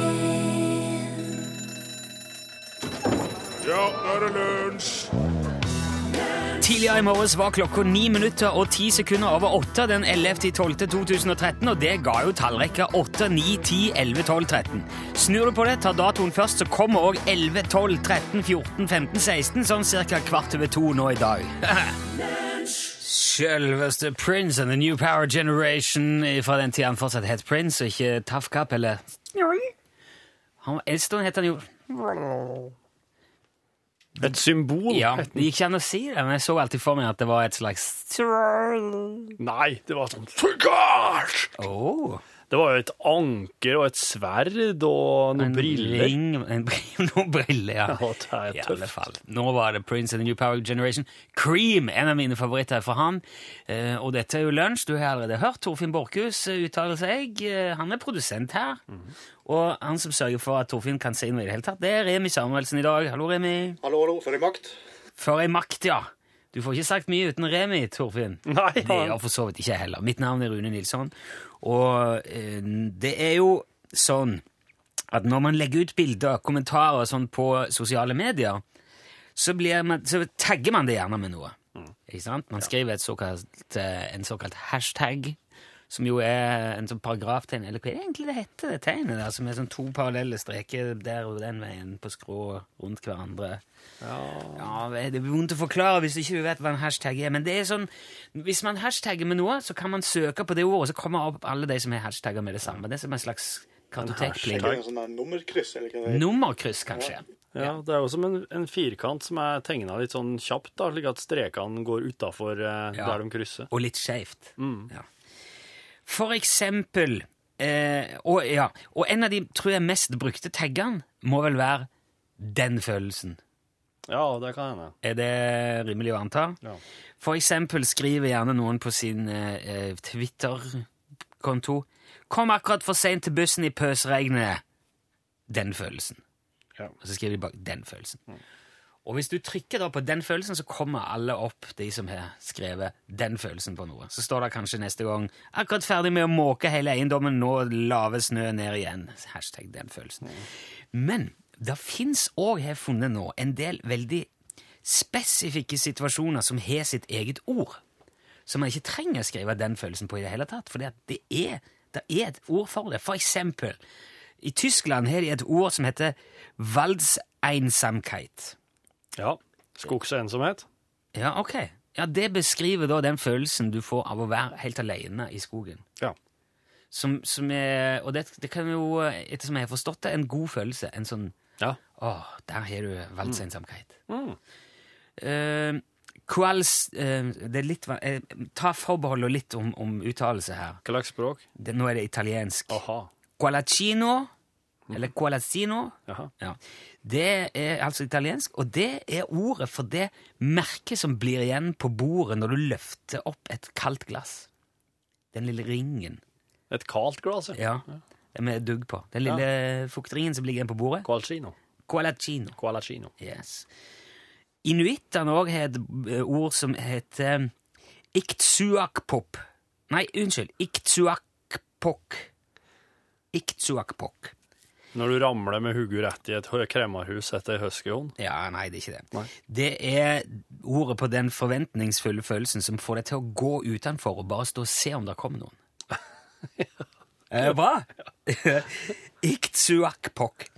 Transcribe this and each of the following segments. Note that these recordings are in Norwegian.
P1 Ja, nå er det lunsj! Tidligere i morges var klokka 9 minutter og 10 sekunder over 8 den 11.12.2013, og det ga jo tallrekka 8, 9, 10, 11, 12, 13. Snur du på det, tar datoen først, så kommer òg 11, 12, 13, 14, 15, 16, sånn ca. kvart over to nå i dag. Selveste Prince and the New Power Generation fra den tida han fortsatt het Prince, og ikke Tafkap eller Han var Elston, het han jo. Et symbol? Ja, Det gikk ikke an å si det, men jeg så alltid for meg at det var et slags Nei, det var sånn Fugars! oh. Det var jo et anker og et sverd og noen En briller. Ring, en, br- noen briller, ja. Ja, det er I tøft. alle fall. Nå var det Prince and the New Power Generation. Cream, en av mine favoritter fra ham. Eh, og dette er jo lunsj, du har allerede hørt. Torfinn Borkhus eh, uttaler seg. Eh, han er produsent her. Mhm. Og han som sørger for at Torfinn kan se inn i det hele tatt, det er Remi Samuelsen i dag. Hallo, Remi. Hallo, hallo, for en makt. For ei makt, ja. Du får ikke sagt mye uten Remi, Torfinn. Nei, Det han- gjør for så vidt ikke jeg heller. Mitt navn er Rune Nilsson, og eh, det er jo sånn at når man legger ut bilder, kommentarer og sånn på sosiale medier, så, blir man, så tagger man det gjerne med noe. Ikke sant? Man skriver et såkalt, eh, en såkalt hashtag, som jo er en sånn paragraftegn, eller hva er det egentlig det heter, det tegnet der, som er sånn to parallelle streker der og den veien på skrå rundt hverandre. Ja, det blir vondt å forklare hvis ikke du vet hva en hashtag er, men det er sånn, hvis man hashtagger med noe, så kan man søke på det ordet, så kommer opp alle de som har hashtagger med det samme. Det er som en slags Er kartotekpling. ikke det noe sånn der nummerkryss, eller hva det er? Nummerkryss, kanskje. Ja, det er jo som en, en firkant som er tegna litt sånn kjapt, da, slik at strekene går utafor eh, Ja. der de krysser. Og litt skjevt. Ja. For eksempel eh, og, ja, og en av de tror jeg mest brukte taggene må vel være 'den følelsen'. Ja, det kan hende. Er det rimelig å anta? Ja. For eksempel skriver gjerne noen på sin eh, eh, Twitter-konto 'Kom akkurat for seint til bussen i pøsregnet'. Den følelsen. Ja. Mm. Og så skriver de bak 'den følelsen'. Og hvis du trykker da på 'den følelsen', så kommer alle opp, de som har skrevet 'den følelsen' på noe. Så står det kanskje neste gang 'akkurat ferdig med å måke hele eiendommen, nå lave snø ned igjen'. Hashtag 'den Mm. følelsen'. Men det fins òg, har jeg funnet nå, en del veldig spesifikke situasjoner som har sitt eget ord. Så man ikke trenger å skrive den følelsen på i det hele tatt. For det er, det er et ord for det. For eksempel, i Tyskland har de et ord som heter Waldseinsamkeit. Ja. Skogsensomhet. Ja, ok. Ja, Det beskriver da den følelsen du får av å være helt alene i skogen. Ja. Som, som er, og det, det kan jo, ettersom jeg har forstått det, en god følelse. En sånn Ja. Åh, der har du valgsensomhet. Eh, quals, eh, det er litt, van- eh, ta forbehold og litt om, om uttalelse her. Hva slags språk? Det, nå er det italiensk. Aha. Qualacino, eller qualazzino, Jaha. ja. det er altså italiensk, og det er ordet for det merket som blir igjen på bordet når du løfter opp et kaldt glass. Den lille ringen, Et kaldt glass, ja. ja, den med dugg på. Den lille fuktringen som ligger igjen på bordet. Qualcino. Qualacino. Qualacino. Yes. Inuittene òg har et eh, ord som heter eh, iktsuakpop. Nei, unnskyld. Iktsuakpok. Iktsuakpok. Når du ramler med hodet rett i et hø- kremmerhus etter ei huskyhund. Ja, nei, det er ikke det. Nei. Det er ordet på den forventningsfulle følelsen som får deg til å gå utenfor og bare stå og se om det kommer noen. Eh, bra! Iktsuakpok.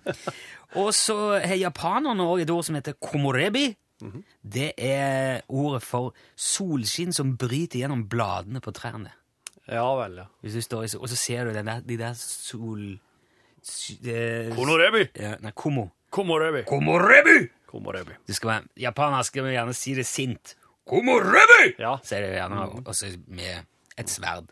Og så har japanerne òg et ord som heter komorebi. Det er ordet for solskinn som bryter gjennom bladene på trærne. Ja vel, ja. Hvis du står i sol, Og så ser du den der, de der sol... sy- eh, Komorebi! ja, nei, komo. Komorebi! Komorebi! Komorebi. Det skal være, Japanere skal jo gjerne si det sint. Komorebi! Ja. Mm. Sier de gjerne, også med et sverd.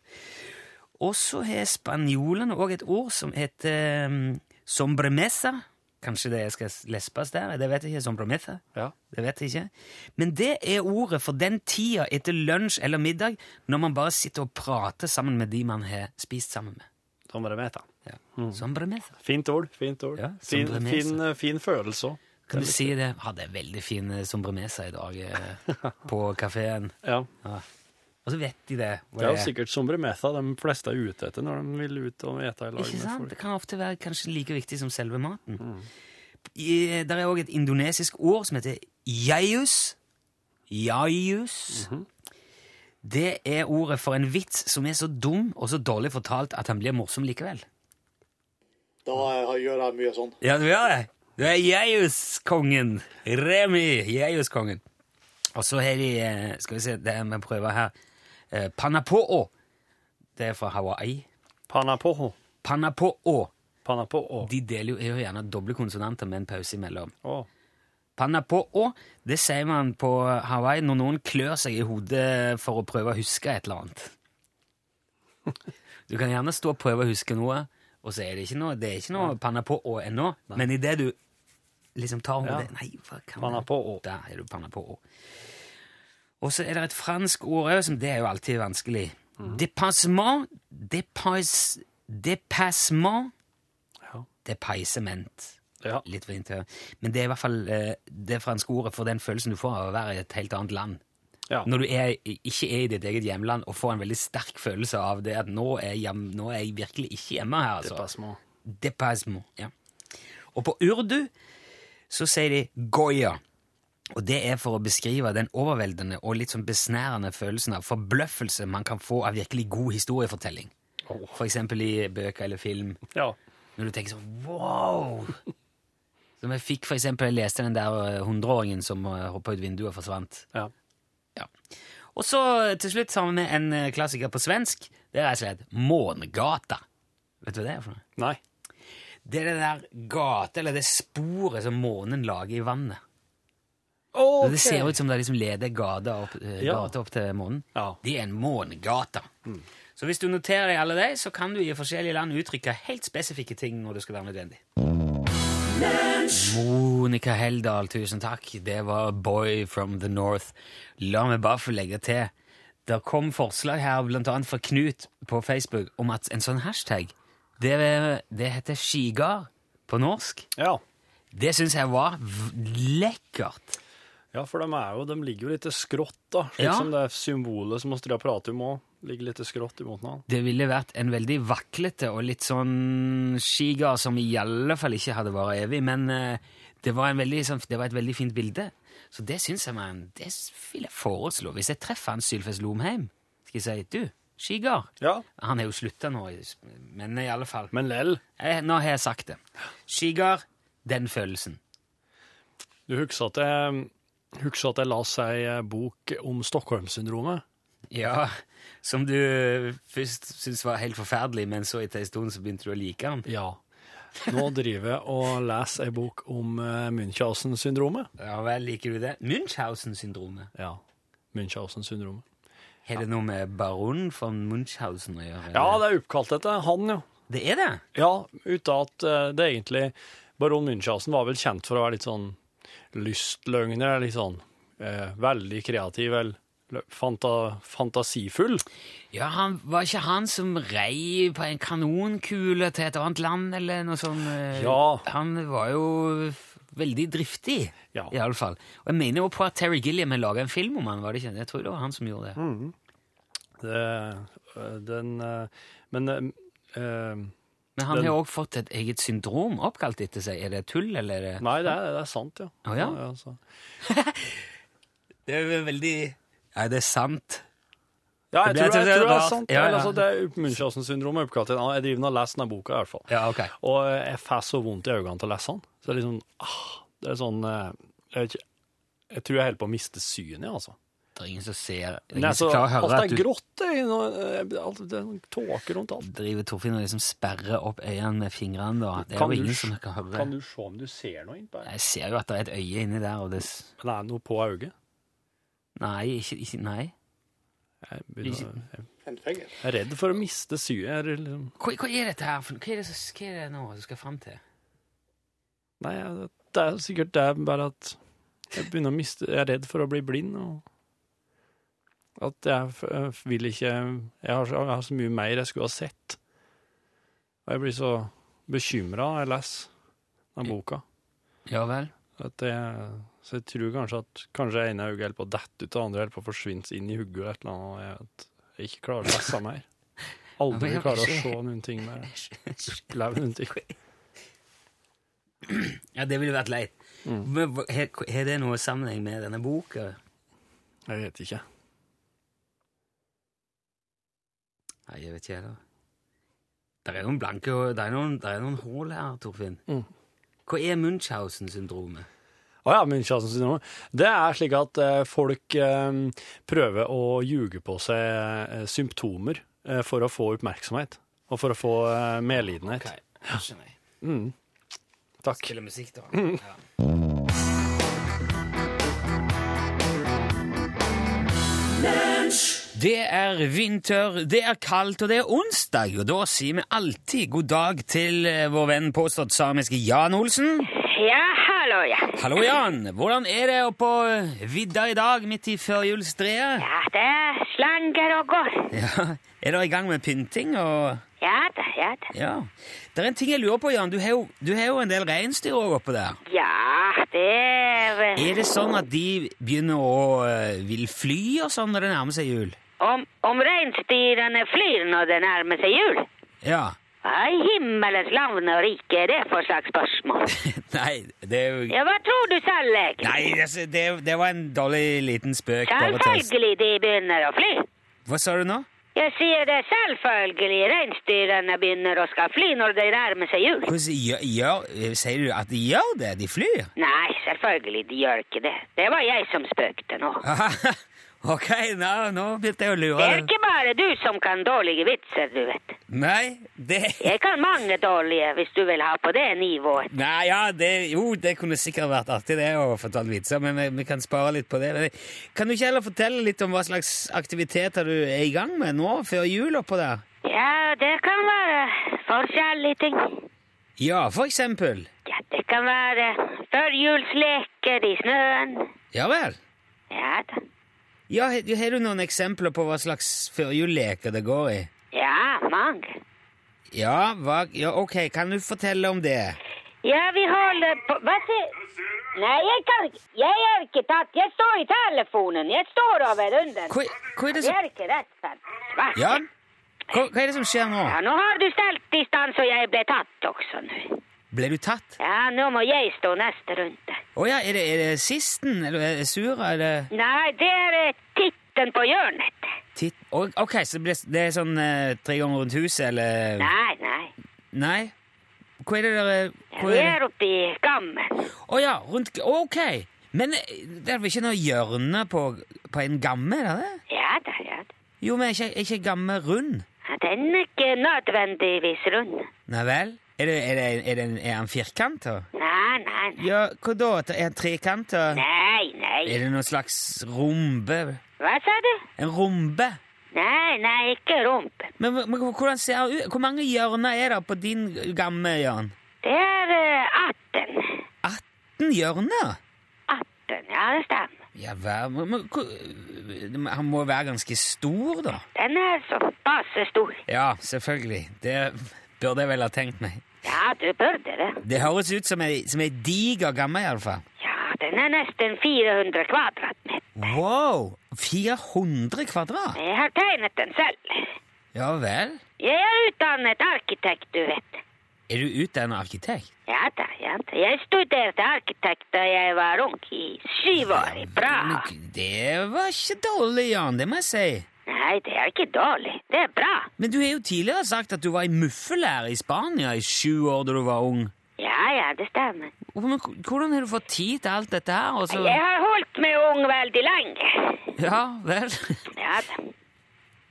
Og så har spanjolene òg et ord som heter um, sombremesa. Kanskje det skal lespes der? Det vet jeg ikke. Sombremesa. Ja. Det vet jeg ikke. Men det er ordet for den tida etter lunsj eller middag når man bare sitter og prater sammen med de man har spist sammen med. Sombremeta. Ja. Mm. Sombremesa. Fint ord. fint ord. Ja, fin, sombremesa. fin, eh, fin følelse òg. Kan du si Ah, det? Hadde en veldig fin eh, sombremesa i dag eh, på kafeen. Ja. Ja. Og så vet de det. hva Det er det jo er. sikkert sombremetha de fleste er ute etter når de vil ut og ete i lag Ikke med sant? folk. Det kan ofte være kanskje like viktig som selve maten. I, der er òg et indonesisk ord som heter jaius. Jaius. Det er ordet for en vits som er så dum og så dårlig fortalt at han blir morsom likevel. Da har- gjør jeg mye sånn. Ja, du gjør det. Du er Jaius-kongen. Remi, Jaius-kongen. Og så har de eh, Skal vi se, det er vi prøver her. Eh, Panapo'o. Det er fra Hawaii. Panapoho. Panapo'o. Panapoho. De deler jo, er jo gjerne doble konsonanter med en pause imellom. Å. Panna på å, det sier man på Hawaii når noen klør seg i hodet for å prøve å huske et eller annet. Du kan gjerne stå og prøve å huske noe, og så er det ikke noe, det er ikke noe panna på å ennå, men idet du liksom tar hodet Ja. Nei, hva kan Panna det- på å. Der er du panna på å. Og så er det et fransk ord òg, som det er jo alltid vanskelig. Mhm. Depassement, depass, depassement, Ja. depaisement Ja. litt for inntil. Men det er i hvert fall eh, det franske ordet for den følelsen du får av å være i et helt annet land. ja. Når du er, ikke er i ditt eget hjemland og får en veldig sterk følelse av det at nå er, hjem, nå er jeg virkelig ikke hjemme her. Altså. Depassement. Depassement. Ja. Og på urdu så sier de goya. Og det er for å beskrive den overveldende og litt sånn besnærende følelsen av forbløffelse man kan få av virkelig god historiefortelling. For eksempel i bøker eller film. Ja. Når du tenker sånn wow! Som jeg fikk for eksempel, jeg leste den der eh, hundreåringen som hoppa ut vinduet og forsvant. ja. Ja. Og så eh, til slutt har vi med en eh, klassiker på svensk. Det er rett og slett Mångata. Vet du hva det er for noe? Nei. Det er det der gata, eller det sporet som månen lager i vannet. Okay. Det ser ut som det liksom leder gata opp, eh, Ja. gata opp til månen. Ja. Mm. Det er en mångata. Så hvis du noterer deg alle de, så kan du i forskjellige land uttrykke helt spesifikke ting når det skal være nødvendig. Monica Heldal, tusen takk. Det var Boy from the North. La meg bare få legge til. Der kom forslag her, blant annet fra Knut på Facebook, om at en sånn hashtag, det, det heter skigard på norsk. Ja. Det syns jeg var v- lekkert. ja, for de, er jo, de ligger jo litt skrått, da. Slik Ja. som det symbolet som vi drev og pratet om òg, ligger litt skrått imot hverandre. Det ville vært en veldig vaklete og litt sånn skigard som i alle fall ikke hadde vært evig, men eh, det var, en veldig, sånn, det var et veldig fint bilde. Så det syns jeg man, det vil jeg foreslå. Hvis jeg treffer han Sylfest Lomheim, skal jeg si du, skigard. Ja. Han har jo slutta nå, men i alle fall. Men lell, Jeg, nå har jeg sagt det. Skigard, den følelsen. du husker at jeg, husker at jeg la seg bok om Stockholm-syndromet? Ja, som du eh, først syntes var helt forferdelig, men så etter en stund så begynte du å like han. Ja. Nå driver jeg og leser ei bok om eh, Munchausen-syndromet. Ja vel, liker du det? Munchhausen-syndromet. Ja. Munchausen-syndromet. Har det noe med baronen von Munchhausen å gjøre? Ja, eller? det er oppkalt etter han, jo. det er det. Ja, uten at eh, det egentlig Baron Munchausen var vel kjent for å være litt sånn lystløgner, litt sånn eh, veldig kreativ, eller lø- fanta, fantasifull. Ja, han, Var ikke han som rei på en kanonkule til et annet land, eller noe sånt? eh, Ja. Han var jo f- veldig driftig, Ja. i alle fall. Og jeg mener jo på at Terry Gilliam har laga en film om han, var det ikke? Jeg tror det var han som gjorde det. Det, eh, den, eh, men eh, eh, Men han Den- har òg fått et eget syndrom oppkalt etter seg. Er det tull, eller er det Nei, det er, det er sant, ja. altså. Å, ja? så- Det er jo veldig Nei, det er sant. ja jeg, Det ble- tror, jeg, det tror det var- er sant. ja, ja. Eller, Altså, det er Munchausen-syndromet er oppkalt etter han. Jeg driver og leser denne boka, i hvert fall. Ja, ok. Og eh, jeg får så vondt i øynene til å lese den. Så det er liksom ah, Det er sånn eh, Jeg, vet ikke, jeg tror jeg holder på å miste synet, altså. Det er ingen som ser det er Nei, Ingen altså som klarer å høre alt at er du grått, det. er noe- eh, alt- Det er noe tåke rundt alt. driver Torfinn og liksom sperrer opp øynene med fingrene. Da. Det er Kan du jo ingen s- som kan høre. Kan du se om du ser noe innpå her? Jeg ser jo at det er et øye inni der, og det s- Men er det noe på øyet? Nei, ikke, ikke Nei. Jeg, begynner, å- jeg En finger. er redd for å miste synet. Jeg er liksom- Hva, hva er dette her for noe? Hva er det, som- hva er det nå du skal fram til? Nei, jeg- det er sikkert det, bare at jeg begynner å miste Jeg er redd for å bli blind. og at jeg f- eh, jeg vil ikke jeg har, så, jeg har så mye mer jeg skulle ha sett. Og jeg blir så bekymra når jeg leser den boka. Ja vel. At jeg Så jeg tror kanskje at kanskje ene øyet holder på å dette ut, og andre holder på å forsvinne inn i hodet og et eller annet. og Jeg, vet, jeg ikke klarer å lese mer. Aldri Ja, men jeg klarer å skjer- se noen ting mer. Leve noen ting. Ja, det ville vært leit. Mm. Men hva- Har har det noe sammenheng med denne boka? Jeg vet ikke. Nei, jeg vet ikke heller. Det er noen blanke Det er noen, det er noen hull her, Torfinn. Mm. Hva er Munchhausen-syndromet? Å ja, Munchausen-syndromet. Det er slik at eh, folk eh, prøver å ljuge på seg eh, symptomer eh, for å få oppmerksomhet. Og for å få eh, medlidenhet. skjønner jeg. Mm. Takk. Spiller musikk, da. Ja. Det er vinter, det er kaldt, og det er onsdag, og da sier vi alltid god dag til eh, vår venn påstått samiske Jan Olsen. Ja, hallo, ja. Hallo, Jan. Hvordan er det oppå vidda i dag, midt i førjulstreet? Ja, det er slanger og går. Ja. Er dere i gang med pynting og Ja da, ja da. Ja. Det er en ting jeg lurer på, Jan. Du har jo, du har jo en del reinsdyr òg oppå der. Ja, det er eh, vel- Er det sånn at de begynner å eh, vil fly og sånn når det nærmer seg jul? Om, om reinsdyrene flyr når det nærmer seg jul? Ja. Hva i himmelens land og rike er det for slags spørsmål? Nei, det er jo Ja, hva tror du selv, egentlig? Nei, altså, det, det var en dårlig liten spøk. Bare tøys. Selvfølgelig de begynner å fly. Hva sa du nå? Jeg sier det selvfølgelig reinsdyrene begynner å skal fly når det nærmer seg jul. Hvordan gjør, gjør, eh, sier du at de gjør det? De flyr? Nei, selvfølgelig de gjør ikke det. Det var jeg som spøkte nå. Aha. Ok, nå, nå begynte jeg å Det lure. er ikke bare du som kan dårlige vitser, du vet. Nei, det Jeg kan mange dårlige, hvis du vil ha på det nivået. Nei, ja, det, jo, det kunne sikkert vært artig det å fortelle vitser, men vi, vi kan spare litt på det. Men, kan du ikke heller fortelle litt om hva slags aktiviteter du er i gang med nå, før jul oppå der? Ja, det kan være forskjellige ting. Ja, for eksempel. Ja, det kan være førjulsleker i snøen. Ja vel. Ja da. Ja, he- Har du noen eksempler på hva slags førjulleker det går i? Ja, mange. Ja, hva, ja, ok, kan du fortelle om det? Ja, vi holder på Hva sier Nei, jeg kan ikke Jeg er ikke tatt. Jeg står i telefonen. Jeg står over under. Hva, hva er det Jeg som er ikke rett for Hva? Ja? Hva, hva er det som skjer nå? Ja, nå har du stelt i stand, så jeg ble tatt også nå. Ble du tatt? Ja, nå må jeg stå neste runde. Å ja, er det, er det sisten? Eller er det sura? Eller Nei, det er eh, titten på hjørnet. titt... Å, Ok, så det, ble, det er sånn eh, tre ganger rundt huset, eller Nei, nei. Nei. Hva er det dere Hvor Vi er det? er oppe i gammen. Å ja, rundt Ok! Men eh, det er vel ikke noe hjørne på, på en gamme? er det det? Ja da, ja da. Jo, men er ikke, er ikke gamme rund? Ja, Den er ikke nødvendigvis rund. Nei vel? Er, det, er, det, er, det, en- er han firkanta? Nei, nei, nei. Ja, hva da? At det Er han trekanta? Nei, nei. Er det noe slags rombe? Hva sa du? En rombe? Nei, nei, ikke rumpen. Men, men hvordan ser han ut? Hvor mange hjørner er det på din gamme, Jørn? Det er eh, 18. 18 hjørner? 18, ja, det stemmer. Ja vel men, men, hvor- Han må være ganske stor, da? Den er så passe stor. Ja, selvfølgelig. Det burde jeg vel ha tenkt meg. Ja, du burde det. Det høres ut som ei, som ei diger gamme, iallfall. Ja, den er nesten 400 kvadratmeter. Wow! 400 kvadrat? Jeg har tegnet den selv. Ja vel. Jeg er utdannet arkitekt, du vet. Er du utdannet arkitekt? Ja da, ja da. Jeg studerte arkitekt da jeg var ung, i syv år i Praha. Men Det var ikke dårlig, Jan. Det må jeg si. Nei, det er ikke dårlig. Det er bra. Men du har jo tidligere sagt at du var i muffelære i Spania i sju år da du var ung. Ja, ja, det stemmer. Men k- hvordan har du fått tid til alt dette her? Altså, Og så... Jeg har holdt meg ung veldig lenge. Ja vel. Ja da.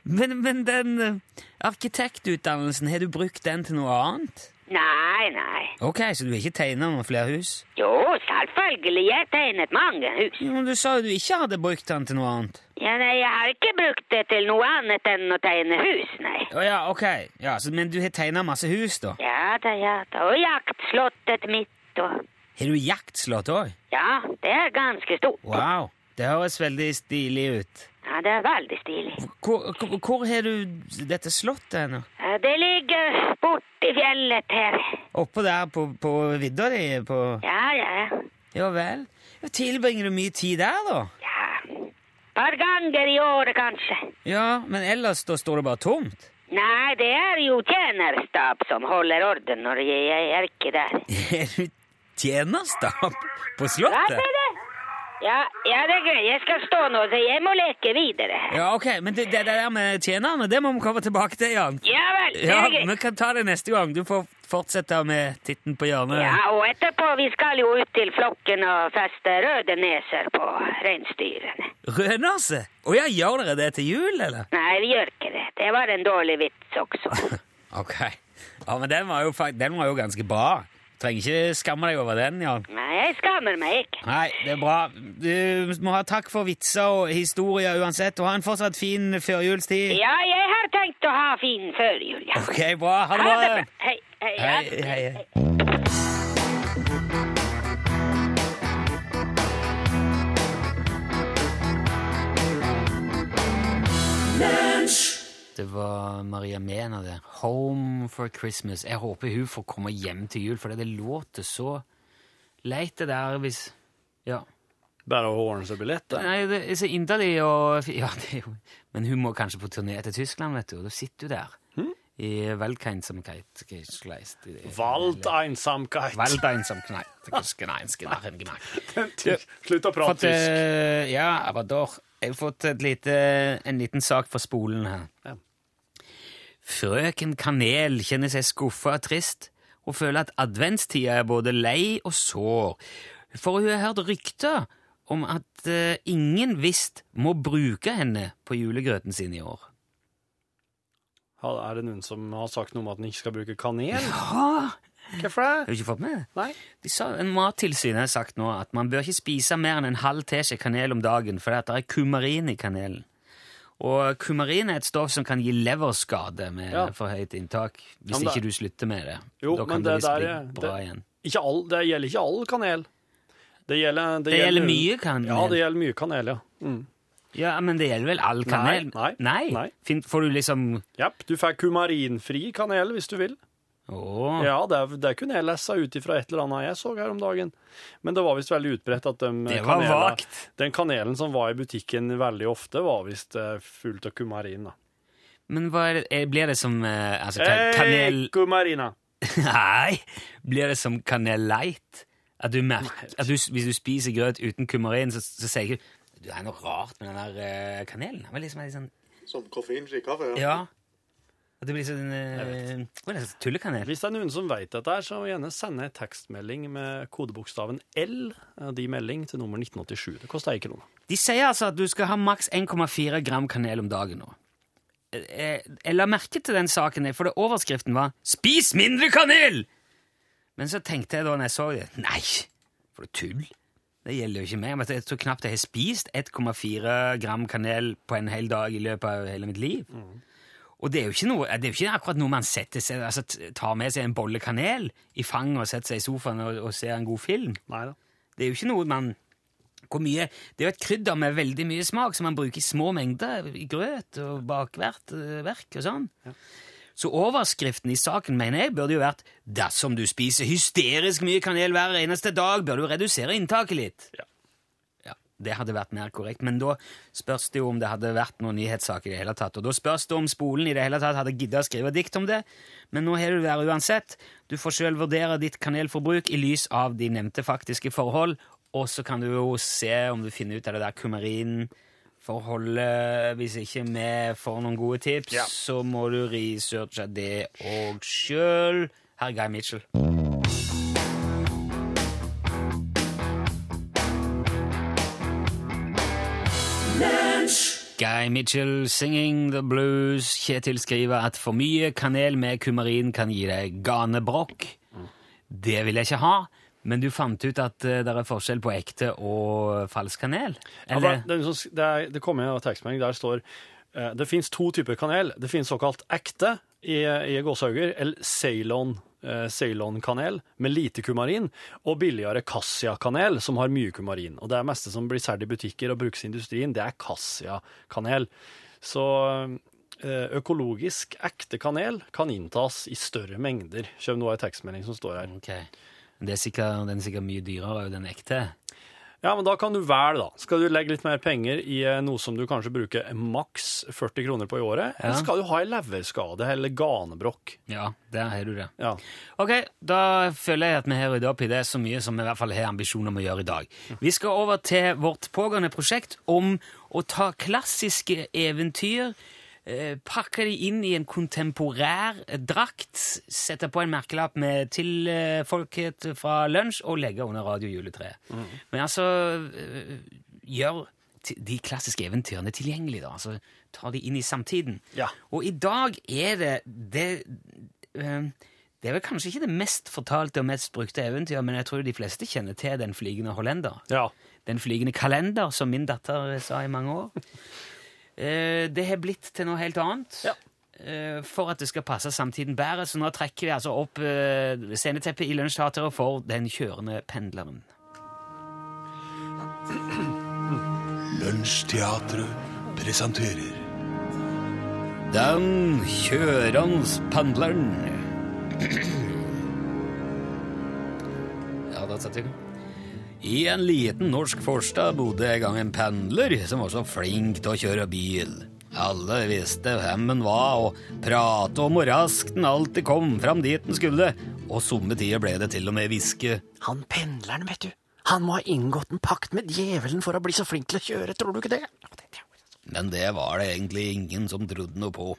Men, men den eh, arkitektutdannelsen, har du brukt den til noe annet? Nei, nei. Ok, så du har ikke tegna noen flere hus? Jo, selvfølgelig, jeg tegnet mange hus. Jo, men Du sa jo du ikke hadde brukt den til noe annet. Ja, nei, jeg har ikke brukt det til noe annet enn å tegne hus, nei. Å ja, ok. Ja, så, men du har tegna masse hus, da? Ja da, ja da. Og jaktslottet mitt og Har du jaktslott òg? Ja, det er ganske stort. Wow. Det høres veldig stilig ut. Ja, det er veldig stilig. Hvor, hvor, hvor har du dette slottet nå? Ja, Eh, Det ligger borti fjellet her. Oppå der på, på vidda di? På Ja, ja. Ja vel. Ja, Tilbringer du mye tid der, da? Ja, par ganger i året kanskje. Ja, men ellers da står det bare tomt? Nei, det er jo tjenerstab som holder orden når jeg, jeg er ikke der. Er du tjenerstab på Hva slottet? sier du? Ja, ja, det er greit. Jeg skal stå nå, så jeg må leke videre. Ja, ok, men det, det det der med tjenerne, det må vi komme tilbake til, Jan. Ja vel, det Ja, er greit. Vi kan ta det neste gang. Du får fortsette med titten på hjørnet. Ja, og etterpå vi skal jo ut til flokken og feste røde neser på reinsdyrene. Rødnase? Å ja, gjør dere det til jul, eller? Nei, vi gjør ikke det. Det var en dårlig vits også. Ok. Ja, men den var jo, fak- den var jo ganske bra. Trenger ikke skamme deg over den, Jan. Nei, jeg skammer meg ikke. Nei, det er bra. Du må ha takk for vitser og historier uansett, og ha en fortsatt fin førjulstid. Ja, jeg har tenkt å ha fin førjul, ja. Ok, bra. Ha det Ha det bra. bra. Hei, hei. Hei, ja. hei. hei. Det var Maria Mena det. 'Home for Christmas'. Jeg håper hun får komme hjem til jul, for det låter så leit, det der hvis Ja. Bare å ordne seg billett, da. Nei, det altså, er så inderlig og Ja, det er jo Men hun må kanskje på turné til Tyskland, vet du, og da sitter hun der. I Weltkeinsamkeit. Geschleist. Vald einsamkeit. Waldeinsamkeit. Geschneinsgenachen. Slutt å prate Fått, tysk. eh, ja, aber doch. Jeg har fått et lite, en liten sak fra spolen her. Ja. Frøken Kanel kjenner seg skuffa og trist, og føler at adventstida er både lei og sår. For hun har hørt rykter om at eh, ingen visst må bruke henne på julegrøten sin i år. Ha- Er det noen som har sagt noe om at en ikke skal bruke kanel? Hva? Hvorfor Har du det? ikke fått med det? Nei. De sa, en mattilsyn har sagt nå at man bør ikke spise mer enn en halv teskje kanel om dagen, for det er kumarin i kanelen. Og kumarin er et stoff som kan gi leverskade med Ja. for høyt inntak, Ja, hvis men det- ikke du slutter med det. Jo, da men kan det det visst der bli er- bra det- igjen. Ikke all, det gjelder ikke all kanel. Det gjelder, Det gjelder mye kanel. Ja, det gjelder mye kanel, ja. Mm. Ja, men det gjelder vel all kanel? nei, nei. Fin- får du liksom Japp, du får kumarinfri kanel hvis du vil. Åh, Ja, det, det kunne jeg lese ut ifra et eller annet jeg så her om dagen. Men det var visst veldig utbredt at de Det var kanela- vagt. den kanelen som var i butikken veldig ofte, var visst eh, fullt av kumarin. da. Men hva er det, eh, blir det som eh, altså, kan, kanel... Hei, kumarina! Nei, blir det som kanelleit? At du merker, at du, hvis du spiser grøt uten kumarin, så, så sier du det er noe rart med den der eh, kanelen. Den var liksom, litt sånn, Som koffeinfri kaffe? Ja. ja. At det blir sånn eh, Hva er det, tullekanel? Hvis det er noen som vet dette, her, så gjerne send en tekstmelding med kodebokstaven L, eh, de melding, til nummer 1987. Det koster ei krone. De sier altså at du skal ha maks 1,4 gram kanel om dagen nå. Eh, eh, Jeg la merke til den saken, der, for det overskriften var 'Spis mindre kanel!' Men så tenkte jeg da når jeg så det Nei, for det tull. Det gjelder jo ikke meg. Men jeg tror knapt jeg har spist 1,4 gram kanel på en hel dag i løpet av hele mitt liv. Og det er jo ikke, noe, det er jo ikke akkurat noe man setter seg, altså t- tar med seg en bolle kanel i fanget og setter seg i sofaen og, og ser en god film. Nei da. Det er jo ikke noe man hvor mye, Det er jo et krydder med veldig mye smak som man bruker i små mengder i grøt og bakverk eh, verk og sånn. Så overskriften i saken mener jeg burde jo vært 'Dersom du spiser hysterisk mye kanel hver eneste dag, bør du redusere inntaket litt'. Ja. Ja, Det hadde vært mer korrekt, men da spørs det jo om det hadde vært noen nyhetssak i det hele tatt. Og da spørs det om skolen i det hele tatt hadde giddet å skrive dikt om det. Men nå har du det her uansett. Du får sjøl vurdere ditt kanelforbruk i lys av de nevnte faktiske forhold, og så kan du jo se om du finner ut av det der kumarinforholdet. Hvis ikke vi får noen gode tips, Ja. så må du researche det òg sjøl. Her er Guy Mitchell. Guy Mitchell singing the blues. Kjetil skriver at for mye kanel med kumarin kan gi deg ganebrokk. Det vil jeg ikke ha, men du fant ut at eh, det er forskjell på ekte og falsk kanel? Ja, Eller? for det, er noen som- det, er, det kommer en tekstmelding der det står eh, det finnes to typer kanel. Det finnes såkalt ekte i, i gåsehauger, eller Ceylon. eh, Ceylon-kanel med lite kumarin, og billigere Cassia-kanel som har mye kumarin. Og det er meste som blir solgt i butikker og brukes i industrien, det er Cassia-kanel. Så eh, økologisk ekte kanel kan inntas i større mengder. Kjøp nå en tekstmelding som står her. Ok. Det er sikkert, den er sikkert mye dyrere enn den ekte. Ja, men da kan du velge, da. Skal du legge litt mer penger i eh, noe som du kanskje bruker maks 40 kroner på i året, Ja. eller skal du ha en leverskade eller ganebrokk? Ja, der har du det. Ja. Ok, da føler jeg at vi har rydda opp i det så mye som vi i hvert fall har ambisjon om å gjøre i dag. Vi skal over til vårt pågående prosjekt om å ta klassiske eventyr, eh, pakke de inn i en kontemporær drakt, sette på en merkelapp med 'til eh, folket fra lunsj' og legge under radiojuletreet. Men altså eh, gjør ti- de klassiske eventyrene tilgjengelige, da. Altså ta de inn i samtiden. Ja. Og i dag er det det Eh, Det er vel kanskje ikke det mest fortalte og mest brukte eventyret, men jeg tror de fleste kjenner til Den flygende hollender. ja. Den flygende kalender, som min datter sa i mange år. Eh, Det har blitt til noe helt annet. Ja. eh, For at det skal passe samtiden bedre, så nå trekker vi altså opp eh, sceneteppet i Lunsjteatret for Den kjørende pendleren. Lunsjteatret presenterer Den kjørende pendleren. ja, da setter jeg I en liten norsk forstad bodde en gang en pendler som var så flink til å kjøre bil. Alle visste hvem han var, og prate om hvor raskt han alltid kom fram dit han skulle. Og somme tider ble det til og med hviske. Han pendleren, vet du. Han må ha inngått en pakt med djevelen for å bli så flink til å kjøre, tror du ikke det? Men det var det egentlig ingen som trodde noe på.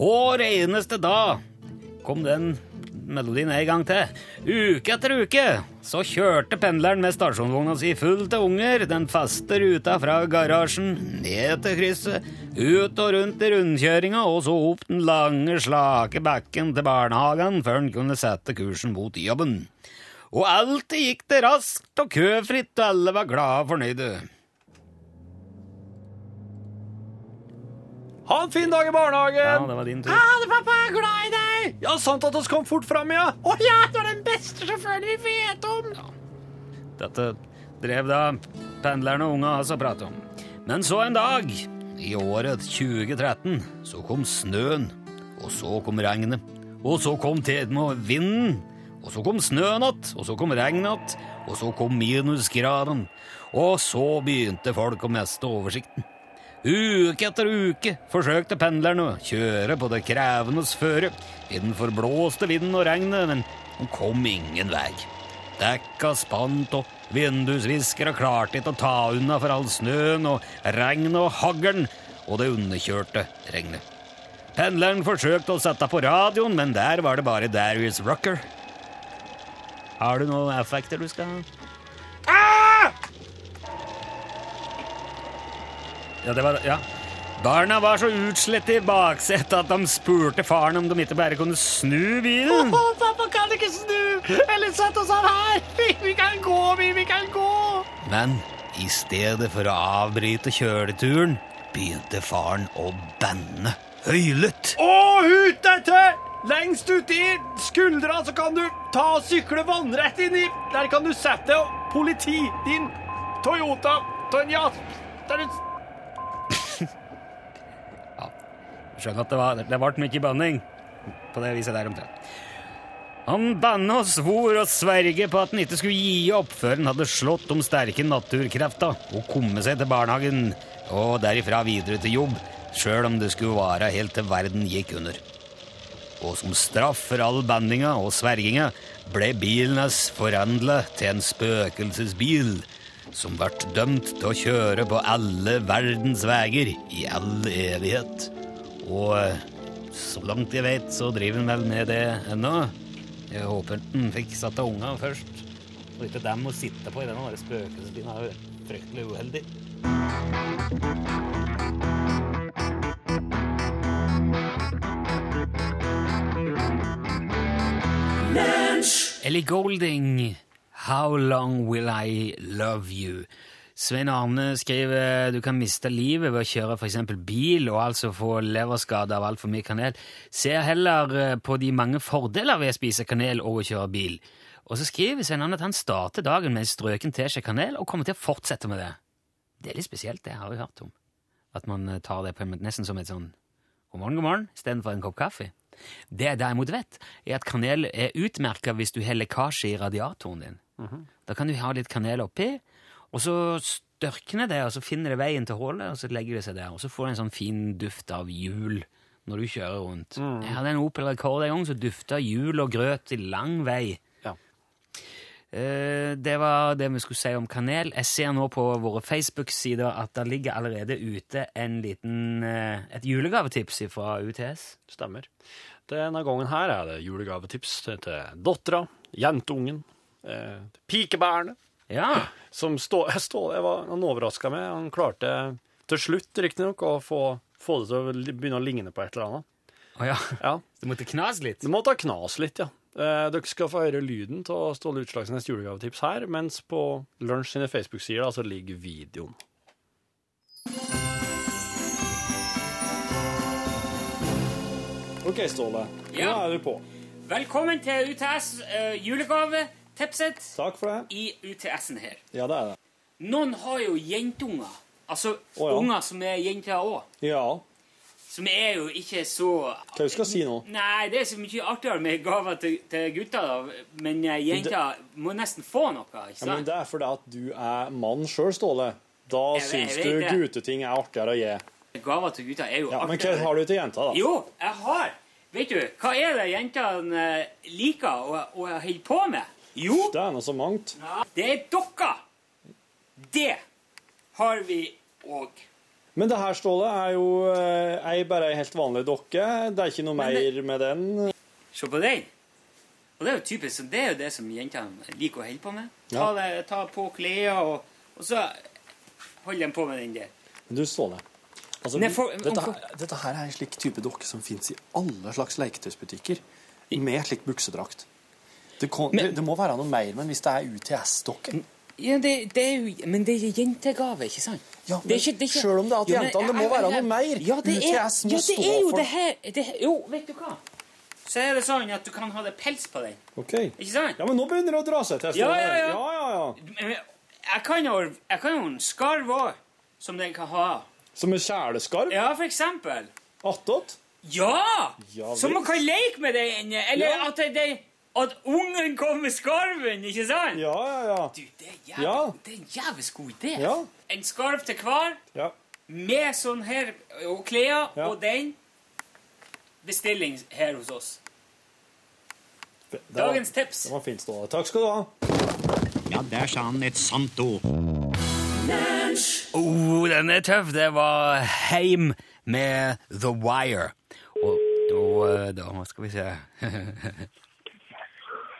Hver eneste dag kom den melodien en gang til. Uke etter uke så kjørte pendleren med stasjonsvogna si full til unger den faste ruta fra garasjen ned til krysset, ut og rundt i rundkjøringa og så opp den lange, slake bakken til barnehagen før han kunne sette kursen mot jobben. Og alltid gikk det raskt og køfritt, og alle var glade og fornøyde. Ha en fin dag i Ja, barnehagen! det var din tur. Ha det, pappa! er Glad i deg! Ja, sant at oss kom fort fram, ja! Å ja, du er den beste sjåføren vi vet om! Dette drev da pendlerne og unga altså prate om. Men så en dag, i året 2013, så kom snøen, og så kom regnet, og så kom tiden og vinden, og så kom snøen att, og så kom regnet att, og så kom minusgraden, og så begynte folk å miste oversikten. Uke etter uke forsøkte pendlerne å kjøre på det krevendes føre i den forblåste vinden og regnet, men de kom ingen vei. Dekka spant og vindusviskere klarte ikke å ta unna for all snøen og regnet og haglen og det underkjørte regnet. Pendleren forsøkte å sette på radioen, men der var det bare Darius Rucker. Har du noen effekter du skal ha? Ja, det var det. Ja. Barna var så utslett i baksetet at de spurte faren om de ikke bare kunne snu bilen. Å, pappa kan ikke snu! Eller sett oss av her! Vi, vi kan gå, vi, vi kan gå! Men i stedet for å avbryte kjøleturen, begynte faren å banne høylytt. Og ut etter! Lengst ut i skuldra så kan du ta og sykle vannrett inn i Der kan du sette deg, og politi, din Toyota, Tonjas Der du Skjønner at det var, det ble mye banning på det viset der omtrent. Han banna og svor og sverge på at han ikke skulle gi opp før han hadde slått de sterke naturkrefta og komme seg til barnehagen og derifra videre til jobb, sjøl om det skulle vare helt til verden gikk under. Og som straff for all banninga og sverginga ble bilen hans forandla til en spøkelsesbil som ble dømt til å kjøre på alle verdens veier i all evighet. Og eh, så langt jeg vet, så driver han vel med det ennå. Jeg håper han fikk satt av unga først. Og ikke dem å sitte på i denne der spøkelsesbilen er jo fryktelig uheldig. Ellie Golding, How long will I love you? Svein Arne skriver du kan miste livet ved å kjøre for eksempel bil og altså få leverskade av altfor mye kanel. Ser heller eh, på de mange fordeler ved å spise kanel og å kjøre bil. Og så skriver Svein Arne at han starter dagen med en strøken teskje kanel og kommer til å fortsette med det. Det er litt spesielt, det har jeg hørt om. At man eh, tar det på en, måte nesten som et sånn god morgen, god morgen, istedenfor en kopp kaffe. Det jeg derimot vet, er at kanel er utmerka hvis du har lekkasje i radiatoren din. Da kan du ha litt kanel oppi, og så størkner det, og så finner det veien til hullet, og så legger det seg der. Og så får du en sånn fin duft av jul når du kjører rundt. Jeg hadde en Opel Rekord en gang som dufta jul og grøt i lang vei. Ja. Eh, Det var det vi skulle si om kanel. Jeg ser nå på våre Facebook-sider at det ligger allerede ute en liten, eh, et julegavetips fra UTS. Stemmer. Denne gangen her er det julegavetips til til dottera, jentungen, eh, pikebærene, Ja, som Ståle Stå, var han overraska med. Han klarte til slutt, riktignok, å få, få det til å li- begynne å ligne på et eller annet. Å ja. Ja, Du måtte knas litt. Det må ta knas litt, ja. Eh, dere skal få høre lyden av Ståle Utslagsnes julegavetips her, mens på Lunsj sine Facebook-sider da, så ligger videoen. OK, Ståle. Ja. Nå er du på. Velkommen til UTS uh, julegavetipset Takk for det. i UTS-en her. Ja, det er det. Noen har jo jentunger. Altså ja. unger som er jenter òg. Ja. Som er jo ikke så Hva du skal si nå? Nei, det er så mye artigere med gaver til, til gutter, da. Men eh, jenter må nesten få noe, ikke Ja, men sant? det er fordi at du er mann sjøl, Ståle. Da Jeg vet- syns jeg du vet det. gutteting er artigere å gi. Gaver til gutter er jo Ja, men hva artigere. har du til jenta, da? Jo, jeg har. Vet du, hva er det jentene eh, liker og, og holder på med? Jo, Det er nå så mangt. det er dokker. Det har vi òg. Men det her, Ståle, er jo eh, ei bare ei helt vanlig dokke. Det er ikke noe Men det- mer med den. Se på den. Og det er jo typisk, så det er jo det som jentene liker å holde på med. Ta, Ja. det, ta på klær, og, og så holder de på med den der. Du, Ståle. Altså, Nei, for- Dette, her- dette her er en slik type dokke som fins i alle slags leketøysbutikker med slik buksedrakt. Det, kom, Men- det, det må være noe mer, men hvis det er UTS-dokke Mm, Ja, det, det er jo, men det er jentegave, ikke sant? Ja, Det er men ikke- det er ikke- selv om det er til Ja, men- jentene, det må ja, men- være noe mer. Ja, det er, UTS må ja, det stå er jo for- det her det, her- Jo, vet du hva? Så er det sånn at du kan ha det pels på den. OK. Ikke sant? Ja, men nå begynner det å dra seg til, Ståle. Ja, ja, ja. ja, Men Jeg kan jo, jeg kan jo en skarv òg, som den kan ha. Som en kjæleskarv? Ja, for eksempel. Attåt? Ja! Ja, så man visst. kan leke med den, eller Ja. at, det- det, at ungen kommer med skarven, ikke sant? Ja, ja, Du, ja. det er, jævlig, Ja. det er en jævlig god idé. Ja. En skarv til hver. ja. med sånn her og klær Ja. og den bestilling her hos oss. Det, det var, Dagens det tips. var fint, Ståle. Takk skal du ha. Ja, der sa han et sant ord. Oh, den er tøff. Det var Heim med The Wire. Og, og eh, da skal vi se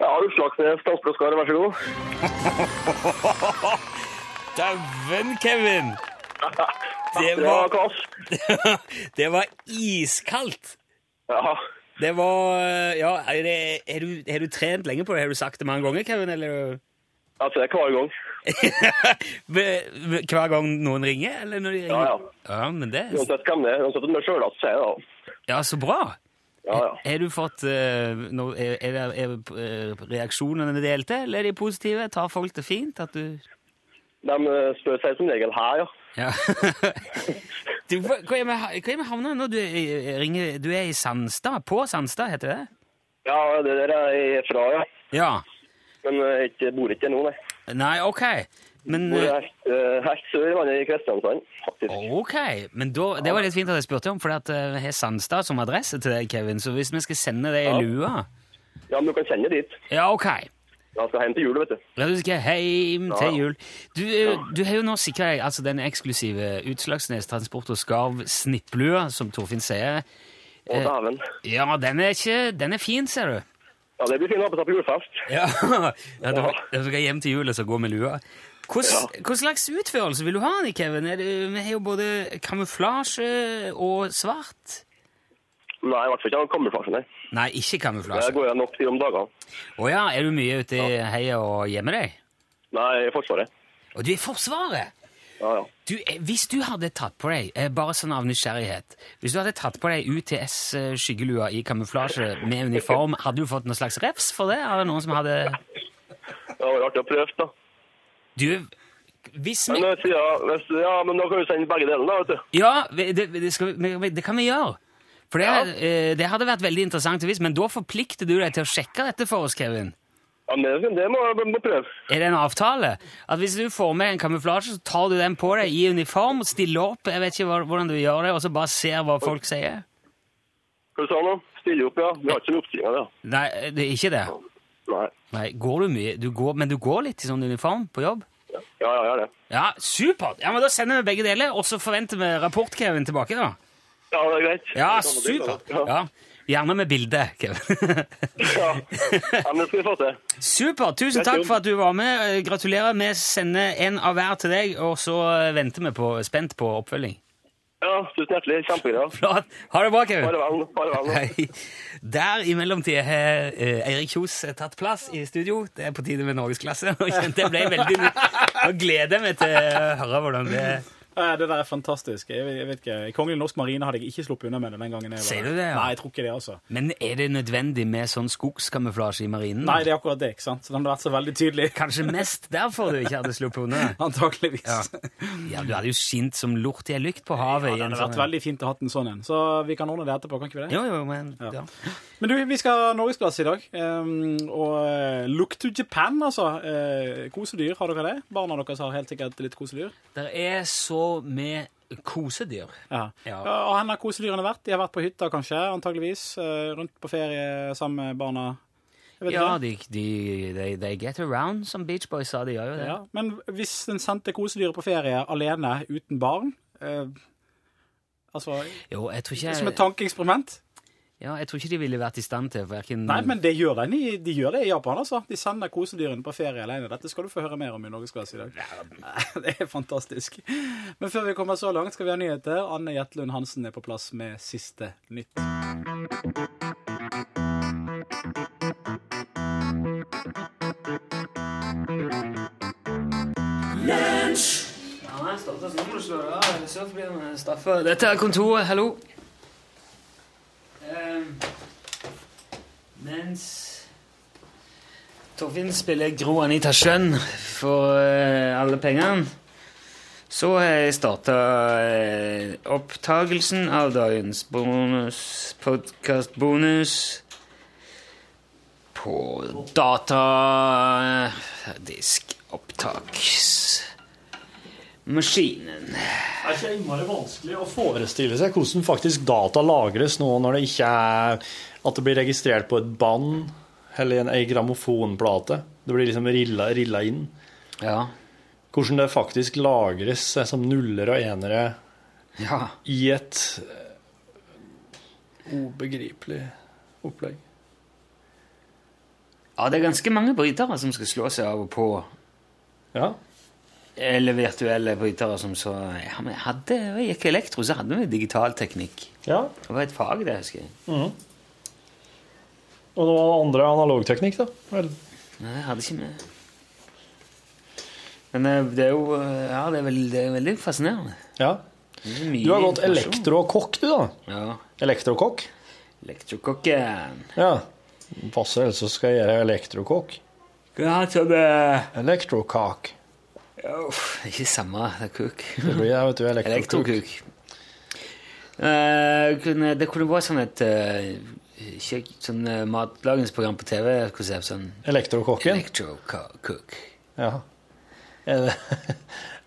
Ja, du Slagsnes, Kasperskar, vær så god. Dæven, Kevin! Det Det var var, kass. det var iskaldt. Ja. Det var eh, Ja, er, det, er, du, er du trent lenge på det? Har du sagt det mange ganger, Kevin? Eller? Jeg ser det hver gang. Ve- ve- Hver gang noen ringer? Eller når de ringer? Ja, ja. ja men det Uansett hvem det er. Uansett om det er sjøl, så er det da. Ja, så bra! Ja, ja. Har du fått eh, nå- er, er, det- er reaksjonene delte, eller er de positive? Tar folk det fint? At du De eh, spør seg som regel her, ja. Ja. du, hva hva er med, hva er med havna nå? Du, er- ringer, du er i Sandstad? På Sandstad, heter det? Ja, det der er jeg fra, ja. Ja. Men eh, ikke, bor ikke her nå, nei. Nei, OK. Men Bor eh, helt, eh, helt sør, men i Kristiansand, faktisk. OK. Men da, det var litt fint at jeg spurte om, for jeg har Sandstad som adresse til deg, Kevin. Så hvis vi skal sende det i lua Ja, men du kan sende dit. Ja, OK. Jeg skal hjem til jul, vet du. Ja, du skal hjem Ja. til jul. Du, eh, du har jo nå sikra deg altså den eksklusive Utslagsnes Transport og Skarv snipplua, som Torfinn sier. Å, dæven. Ja, den er, ikke, den er fin, ser du. Ja, det blir fint å ha på seg på julefest. Ja, ja du, du skal hjem til jul og så gå med lua. Hvordan, hva slags utførelse vil du ha den i, Kevin? Er det, vi har jo både kamuflasje og svart. Nei, i hvert fall ikke av kamuflasjen, nei. Nei, ikke Det kamuflasje. går jeg nok til om dagene. Å ja, er du mye ute i heia og gjemmer deg? Nei, i Forsvaret. Og du er i Forsvaret! Ja, ja. Du, eh, hvis du hadde tatt på deg, eh, bare sånn av nysgjerrighet Hvis du hadde tatt på deg UTS-skyggelua eh, i kamuflasje med uniform, hadde du fått noen slags refs for det? Er det noen som hadde Det var artig å prøve, da. Du, hvis Men, vi eh, siden- hvis, ja, men da kan du sende begge delene, da, vet du. Ja, vi- det, det, skal, vi- vi- det kan vi gjøre. For det, eh, det hadde vært veldig interessant å vise, men da forplikter du deg til å sjekke dette for oss, Kevin. Ja, men det, det må jeg må prøve. Er det en avtale? At hvis du får med en kamuflasje, så tar du den på deg i uniform, stiller opp, jeg vet ikke hva- hvordan du gjør det, og så bare ser hva folk sier? Hva du sa nå? Stille opp, ja. Vi har ikke noen oppstilling av det. ja. Nei, det er ikke det. Nei. Nei, går du mye? Du går, men du går litt i sånn uniform på jobb? Ja, ja, jeg er det. Ja, supert! Ja, men Da sender vi begge deler, og så forventer vi rapport, Kevin, tilbake. da. Ja, det er greit. Ja, supert! Ja, Gjerne med bilde, Kevin. Ja, ja men det skal vi få til. Supert! Tusen takk for at du var med. Eh, Gratulerer. Vi sender en av hver til deg, og så eh, venter vi på, spent på oppfølging. Ja, tusen hjertelig. Kjempegreier. Flott. Ha det bra, Kevin. Bare vel. Bare vel. nå. Hei. Der i mellomtida har eh, Eirik Kjos tatt plass i studio. Det er på tide med norgesklasse. og jeg kjente jeg ble veldig Nå gleder jeg meg til å høre hvordan det Eh, Det der er fantastisk. Jeg vet, jeg vet ikke. I Kongelig norsk marine hadde jeg ikke sluppet unna med det den gangen. Jeg var. Sier du det, ja? Nei, jeg tror ikke det, altså. Men er det nødvendig med sånn skogskamuflasje i marinen? Nei, det er akkurat det, ikke sant? Så den hadde vært så veldig tydelig. Kanskje mest derfor du ikke hadde sluppet unna? Antakeligvis. Ja. ja, du hadde jo skint som lort i ei lykt på havet. i en det hadde sånn- vært veldig fint å ha en sånn en. Så vi kan ordne det etterpå, kan ikke vi det? Jo, jo, men... Ja. Men du, vi skal ha norgesklasse i dag. Ehm, og eh, Look to Japan, altså. Eh, kosedyr, har dere det? Barna deres har helt sikkert litt kosedyr. Det er så med kosedyr. Ja. Ja. Eh, Og hen har kosedyrene vært? De har vært på hytta, kanskje? Antageligvis. eh, rundt på ferie sammen med barna. Jeg vet Ja, ikke. de, de, de, de get around, som Beach Boys sa. De gjør jo det. Ja. Men hvis en sendte kosedyret på ferie alene, uten barn eh, Altså, Jo, jeg tror som et ikke, tankeeksperiment? ja, jeg tror ikke de ville vært i stand til hverken Nei, men det gjør den i- de gjør det i Japan, altså. De sender kosedyrene på ferie alene. Dette skal du få høre mer om i Norgesklasse i dag. Det er fantastisk. Men før vi kommer så langt, skal vi ha nyheter. Anne Jetlund Hansen er på plass med siste nytt. eh, Dette er kontoret, hallo. Ehm, mens Torfinn spiller Gro Anita Skjønn for eh, alle pengene, så har jeg starta opptagelsen av dagens bonus, podkastbonus på datadiskopptaksmaskinen. Det er ikke innmari vanskelig å forestille seg hvordan faktisk data lagres nå når det ikke er at det blir registrert på et band eller en ei grammofonplate. Det blir liksom rilla, rilla inn. Ja. Hvordan det faktisk lagres eh, som nuller og enere Ja. i et eh, ubegripelig opplegg. Ja, det er ganske mange brytere som skal slå seg av og på. Ja. Eller virtuelle brytere som så Ja, men jeg hadde, jeg gikk elektro, så hadde vi digital teknikk. ja. Det var et fag, det, husker jeg. Mhm. Og det var andre analogteknikk, da. Vel, Nei, jeg hadde ikke med Men eh, det er jo eh, Ja, det er, vel, det er veldig fascinerende. ja. Det er mye Du har gått informasjon. elektrokokk, du, da. Ja. Elektrokokk? Elektrokokken. Ja. Passer, ellers så skal jeg gjøre elektrokokk. Hva heter det? Elektrokak. Uff, ikke samme, det er kuk. Det blir det, vet du. Elektrokok. Elektrokuk. Eh, kunne, det kunne vært sånn et eh, kjøk, sånn eh, matlagingsprogram på TV. Konsept, sånn Elektrokokken? Electrocook. Ja. Ele-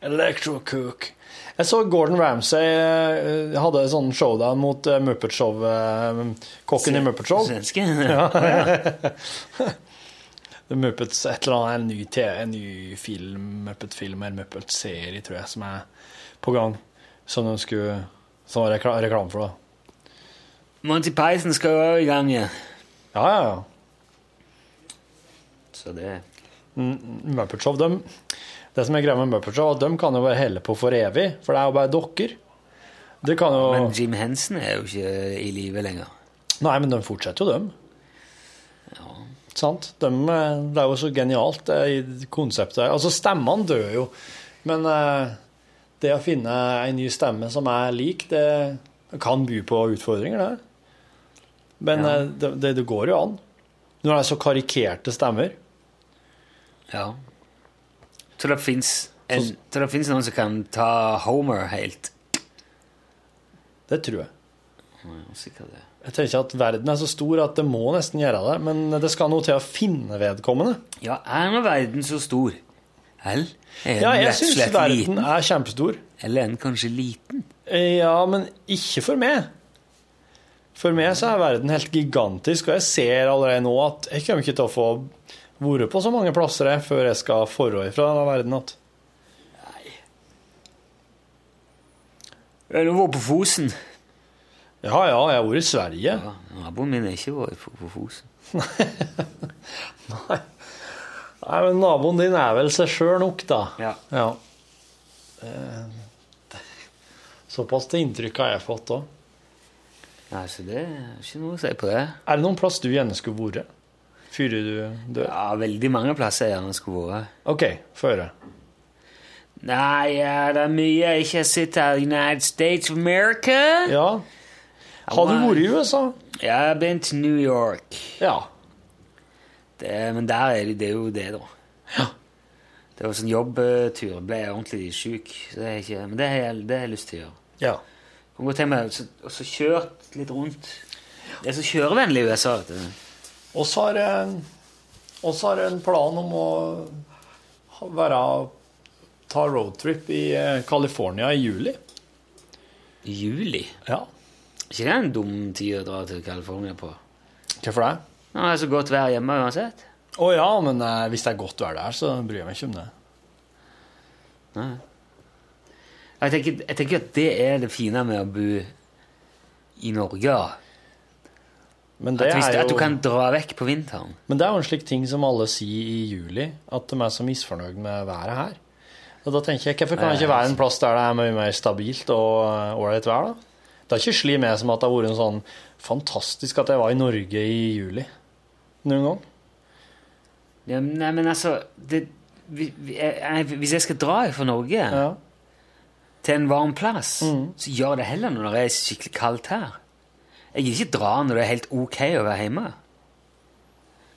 Elektrokok. Jeg så Gordon Ramsay eh, hadde en sånn showdown mot eh, Muppet Show. eh, Kokken i Muppet Show. Svenske? The Muppets, et eller annet, en ny, te- en ny film, Muppet-film eller Muppet-serie, tror jeg, som er på gang. Som de skulle Som var rekla reklame for, da. Monty Python skal jo også i gang igjen. Ja, ja, ja. Så det Mm, Muppet Show, de, det som er greia med Muppet Show, at de kan jo bare helle på for evig, for det er jo bare dokker. Det kan jo Men Jim Henson er jo ikke i live lenger. Nei, men de fortsetter jo, dem. Sant? De, eh, det er jo så genialt, det i konseptet. Altså, stemmene dør jo, men eh, det å finne en ny stemme som er lik, det kan by på utfordringer, det. Men eh, det, det, det går jo an. Når det er så karikerte stemmer. Ja. Så det fins noen som kan ta Homer helt. Det tror jeg. Jeg tenker at verden er så stor at det må nesten gjøre det, men det skal noe til å finne vedkommende. Ja, er nå verden så stor? Vel, er Ja, den jeg rett og syns slett verden liten? er kjempestor. Eller er den kanskje liten? Eh, Ja, men ikke for meg. For meg så er verden helt gigantisk, og jeg ser allerede nå at jeg kommer ikke til å få vært på så mange plasser jeg før jeg skal forrå ifra denne verden. At. Jeg har vært på Fosen. Ja, ja, jeg har vært i Sverige. Naboen min har ikke vært på, på Fosen. Nei, men naboen din er vel seg sjøl nok, da. Ja. Eh, Såpass til inntrykk har jeg fått òg. Nei, så det er ikke noe å si på det. Er det noen plass du gjerne skulle vært? Før du dør? Ja, veldig mange plasser jeg gjerne skulle vært. OK, få høre. Nei, ja, det er mye jeg ikke har sett av United States of America. Ja. Har du vært i USA? Ja, jeg har vært til New York. Ja. Det, men der er det, det er jo det, da. Det var sånn jobbtur. Ble jeg ordentlig syk. Så det er ikke, men det har jeg, det har jeg lyst til å gjøre. Ja. Kan godt tenke meg så- og så kjørt litt rundt. Det er så kjørevennlig i USA. vet du. Oss har, eh, oss har en plan om å ha- være ta roadtrip i eh, California i juli. I Juli? Ja. ikke det en dum tid å dra til California på? Hvorfor det? Nå er det så godt vær hjemme uansett. Å ja, men eh, hvis det er godt vær der, så bryr jeg meg ikke om det. Nei. Jeg tenker, jeg tenker at det er det fine med å bo i Norge. da. Men det, At, hvis, er jo, at du kan dra vekk på vinteren. men det er jo en slik ting som alle sier i juli, at de er så misfornøyd med været her. Og da tenker jeg, Hvorfor kan det ikke være en plass der det er mye mer stabilt og eh, ålreit vær? da? Det er ikke slik med som at det har vært en sånn fantastisk at jeg var i Norge i juli noen gang. Ja, men- nei, men altså det, vi- vi- jeg, jeg- Hvis jeg skal dra fra Norge til en varm plass, Mm. så gjør det heller når det er skikkelig kaldt her. Jeg gidder ikke dra når det er helt ok å være hjemme.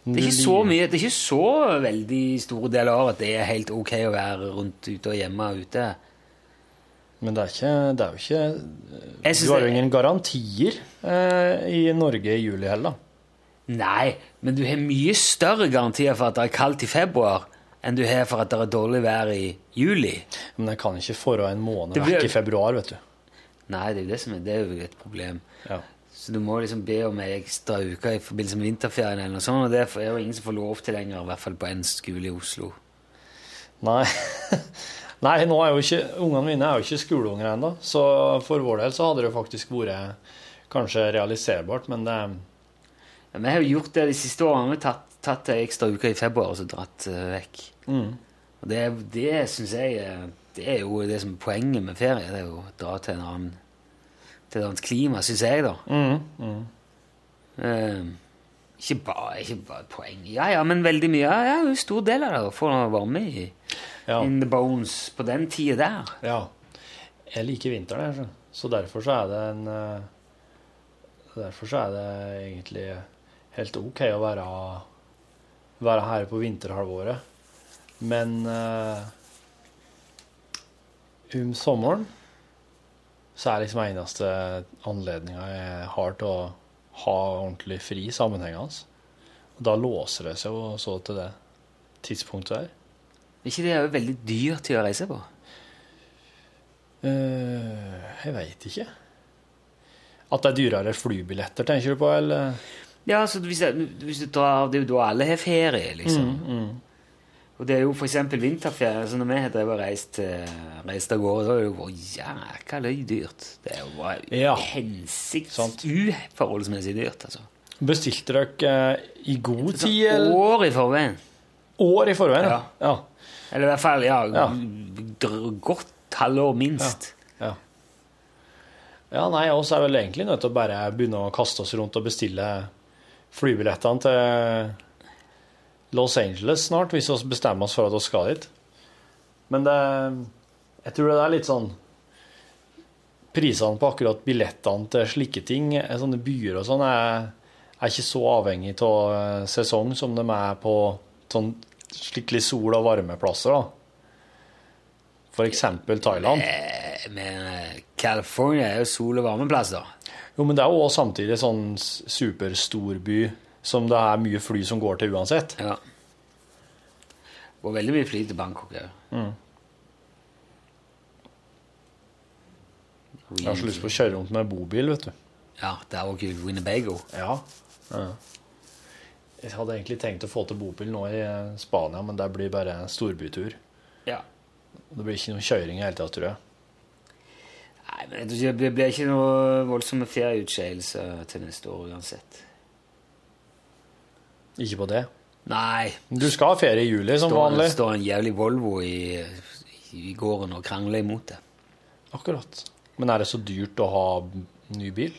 Det er, ikke så mye, det er ikke så veldig stor del av at det er helt ok å være rundt ute og hjemme og ute. Men det er, ikke, det er jo ikke Jeg synes Du har jo det- ingen garantier eh, i Norge i juli heller. Nei, men du har mye større garantier for at det er kaldt i februar enn du har for at det er dårlig vær i juli. Men jeg kan ikke forå en måned Det blir- vekk i februar, vet du. Nei, det er jo det som er, det er jo et problem. Så du må liksom be om ei ekstra uke i forbindelse med vinterferien, eller noe sånt, og det er jo ingen som får lov til lenger, i hvert fall på en skole i Oslo. Nei. Nei, nå er jo ikke, ungene mine er jo ikke skoleunger ennå, så for vår del så hadde det faktisk vært kanskje realiserbart, men det Ja, Vi har jo gjort det de siste årene. Vi har tatt, tatt ei ekstra uke i februar og så dratt eh, vekk. Mm. Og det, det syns jeg eh, Det er jo det som er poenget med ferie. Det er jo å dra til, en annen, til et annet klima, syns jeg, da. Eh, ikke, bare, ikke bare poeng. Ja ja, men veldig mye. Ja, ja, en stor del av det. Å få noe varme i in the bones på den tida der. Ja. Jeg liker vinteren, jeg. så- Så derfor så er det en eh, Derfor så er det egentlig helt OK å være, være her på vinterhalvåret. Men eh, om sommeren så er liksom eneste anledninga jeg har til å ha ordentlig fri sammenhengende. Og da låser det seg jo så til det tidspunktet her. Er ikke det jo veldig dyrt til å reise på? Eh, jeg veit ikke. At det er dyrere flybilletter, tenker du på, eller? Ja, så hvis, jeg, hvis du drar, Det er jo da alle har ferie, liksom. Og det er jo for eksempel vinterferie, så når vi har drevet og reist, eh, reist av gårde, da er det jo vært jækla dyrt. Det er jo bare hensikts uforholdsmessig dyrt, altså. Bestilte dere eh, i god tid? Sånn Eller? år i forveien. År i forveien, ja. Eller i hvert fall, ja, dr- godt halvår minst. Ja. Ja, nei, oss er vel egentlig nødt til å bare begynne å kaste oss rundt og bestille flybillettene til Los Angeles snart, hvis vi bestemmer oss for at vi skal dit. Men det, jeg tror det er litt sånn Prisene på akkurat billettene til slike ting, eh, sånne byer og sånn, er, er ikke så avhengig av eh, sesong som de er på sånn skikkelig sol- og varmeplasser, da. For eksempel Thailand. eh, Men eh, California er jo sol- og varmeplass, da. Jo, men det er jo også samtidig sånn s- superstorby som det er mye fly som går til uansett. Ja. Og veldig mye fly til Bangkok òg. Mm. Jeg har så lyst på å kjøre rundt med bobil, vet du. Ja, det er jo Winnebago. Ja. Jeg hadde egentlig tenkt å få til bobil nå i eh, Spania, men det blir bare en storbytur. Ja. Det blir ikke noe kjøring i hele tatt, tror jeg. Nei, men Det blir- blir ikke noe voldsomme ferieutskeielser til neste år uansett. Ikke på det. Nei. Du skal ha ferie i juli, som står, vanlig. står en jævlig Volvo i, i gården og krangler imot det. Akkurat. Men er det så dyrt å ha ny bil?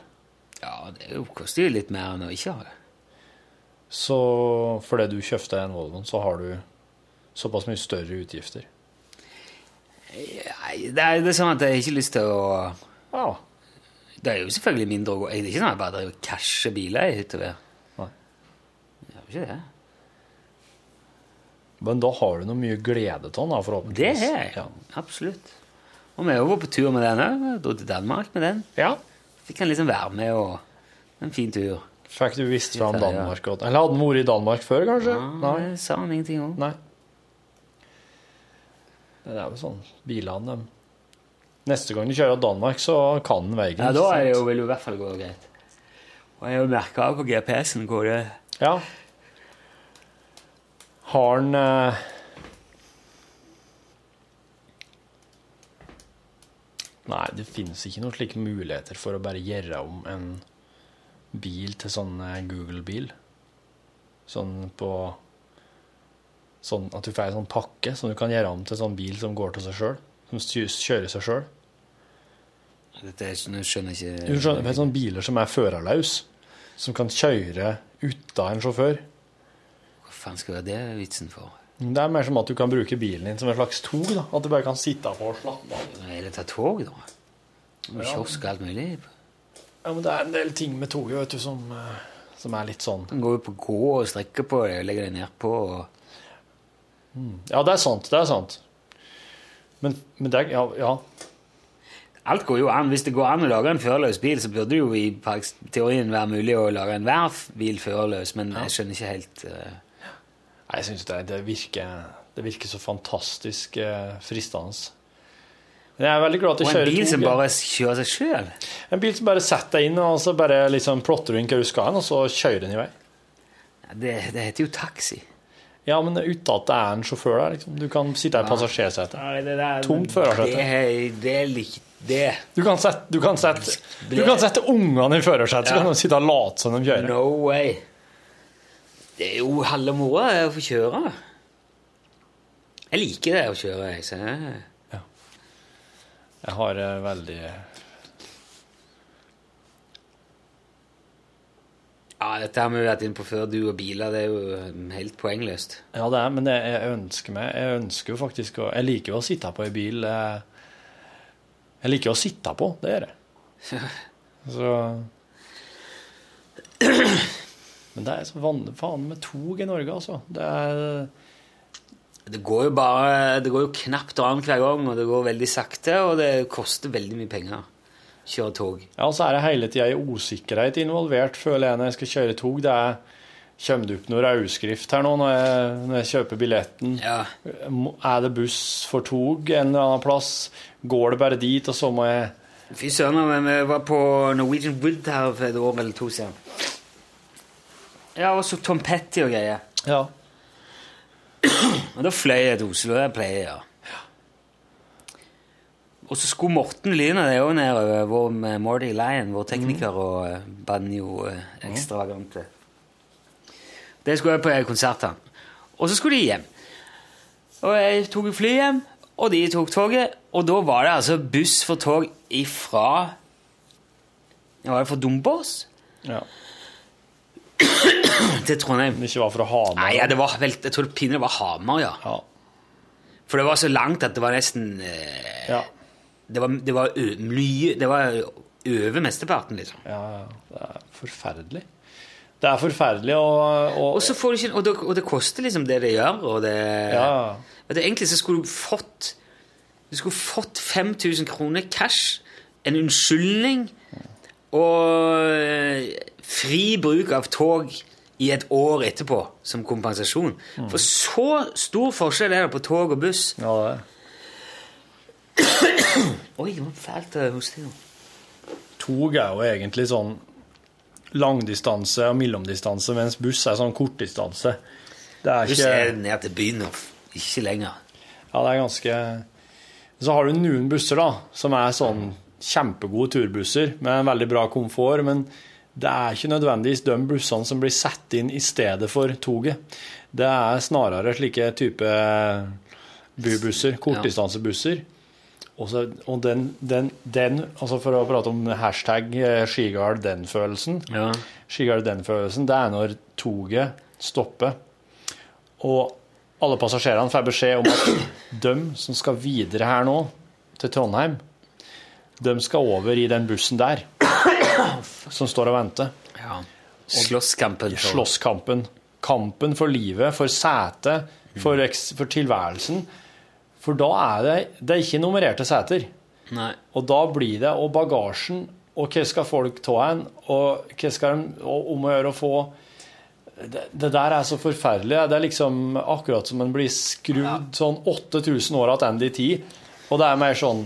Ja, det jo- koster jo litt mer enn å ikke ha det. Så fordi du kjøpte en Volvo, så har du såpass mye større utgifter. Nei, det er, det er sånn at jeg har ikke lyst til å Ja. Det er jo selvfølgelig mindre å gå Det er ikke sånn at jeg bare driver og casher biler i hytt og vær. Nei. Det er jo ikke det. Men da har du noe mye glede av den, da, Det forhåpentligvis. har jeg. Absolutt. Og vi har jo vært på tur med den òg. Dro til Danmark med den. Ja. Fikk han liksom være med og En fin tur. Fikk du visst fra om Litt av det, ja. Danmark godt? Eller hadde den vært i Danmark før, kanskje? Nei. Det sa han ingenting om. Nei. Det er jo sånn bilene dem. Neste gang du kjører av Danmark, så kan den veien. Ja, da er det jo, sant? vil det i hvert fall gå greit. Og jeg har jo merka av på GPS-en hvor det Ja. Har den eh, Nei, det finnes ikke noen slike muligheter for å bare gjøre om en bil til sånn eh, Google-bil. Sånn på Sånn at du får ei sånn pakke som du kan gjøre om til sånn bil som går til seg sjøl. Som styr- kjører seg sjøl. Dette er ikke- nå skjønner jeg ikke Du skjønner, vet du, sånne biler som er førerløse, som kan kjøre uten en sjåfør. Hva faen skal det være vitsen for? Det er mer som at du kan bruke bilen din som en slags tog. da, At du bare kan sitte på og slappe av. Eller ta tog, da. Og Ja. Kiosk og alt mulig. Ja, men Det er en del ting med toget vet du, som, eh, som er litt sånn Du kan gå ut på gå og strekke på det og legge det nedpå. og- Ja, det er sant. Det er sant. Men, men det er Ja. ja. Alt går jo an. Hvis det går an å lage en førerløs bil, så burde det jo i prak- teorien være mulig å lage enhver f- bil førerløs, men jeg skjønner ikke helt eh, Nei, Jeg syns det, det, virker, det virker så fantastisk eh, fristende. Men jeg er veldig glad at jeg Og en kjører bil som tog, ja. bare kjører seg sjøl? En bil som bare setter deg inn, og så bare liksom plotter du inn hva du skal hen, og så kjører den i vei. Det, det heter jo taxi. Ja, men uten at det er en sjåfør der, liksom. Du kan sitte i passasjersetet. Nei, det der, Tomt førersete. Det, det likte det. Du kan sette, du kan sette, du kan sette ungene i førersetet, så Ja. kan de sitte og late som de kjører. No way. Det er jo halve moroa er å få kjøre. Jeg liker det å kjøre. Jeg, så. jeg- Jeg har eh, veldig Ja, Dette har vi jo vært inne på før. Du og biler, det er jo eh, helt poengløst. Ja, det er, men det jeg ønsker meg Jeg ønsker jo faktisk å Jeg liker jo å sitte på i bil. eh, Jeg liker jo å sitte på, det gjør jeg. Så Men det er så vanlig faen med tog i Norge, altså. Det er Det går jo bare, det går jo knapt an hver gang, og det går veldig sakte, og det koster veldig mye penger å kjøre tog. Ja, og så er det hele tida en usikkerhet involvert, føler jeg, når jeg skal kjøre tog. Det er Kommer det opp noe rødskrift her nå når jeg, når jeg kjøper billetten? Må- Er det buss for tog en eller annen plass? Går det bare dit, og så må jeg Fy søren, men vi var på Norwegian Wood her for et år eller to siden. Ja, og så Tom Petty og greier. Ja. Og da fløy jeg til Oslo, det pleier jeg. ja. Og så skulle Morten Lyne, det er jo nedover, vår med Morty Lyon, vår tekniker og eh, banjo eh, ekstravagante. Det skulle jeg på eh, konsert, han. Og så skulle de hjem. Og jeg tok fly hjem, og de tok toget, og da var det altså buss for tog ifra ja, Var det fra Dombås Ja. til Trondheim? Ikke var fra Hamar? Nei, ja, det var vel, jeg tror pinlig det var Hamar, ja. For det var så langt at det var nesten eh, Ja. Det var, det var ø- mye Det var over mesteparten, liksom. Ja, ja, det er forferdelig. Det er forferdelig, og, og, Og, så får du ikke, og, det, og det koster liksom det det gjør, og det Ja. Vet du, Egentlig så skulle du fått Du skulle fått 5000 kroner cash, en unnskyldning, Og eh, fri bruk av tog i et år etterpå som kompensasjon. For så stor forskjell er det på tog og buss. Mm. Ja, det er. Oi, det var fælt eh, hos deg. nå. Tog er jo egentlig sånn langdistanse og mellomdistanse, mens buss er sånn kortdistanse. Det er Buss ikke er ned til byen og f- ikke lenger. Ja, det er ganske Så har du noen busser, da, som er sånn kjempegode turbusser med en veldig bra komfort, men det er ikke nødvendigvis de bussene som blir satt inn i stedet for toget. Det er snarere slike type bybusser, kortdistansebusser. Og så- og den, den, den, altså for å prate om hashtag eh, Skigard den-følelsen Ja. Skigard den-følelsen, det er når toget stopper, og alle passasjerene får beskjed om at de som skal videre her nå, til Trondheim, de skal over i den bussen der, som står og venter. Ja. Slåsskampen. for- Slåsskampen. Kampen for livet, for setet, for, eks- for tilværelsen. For da er det, det er ikke nummererte seter. Nei. Og da blir det Og bagasjen, og hva skal folk ta hen, og hva skal de og om å gjøre å få det, det der er så forferdelig. Det er liksom akkurat som en blir skrudd sånn 8000 år tilbake i tid. Og det er mer sånn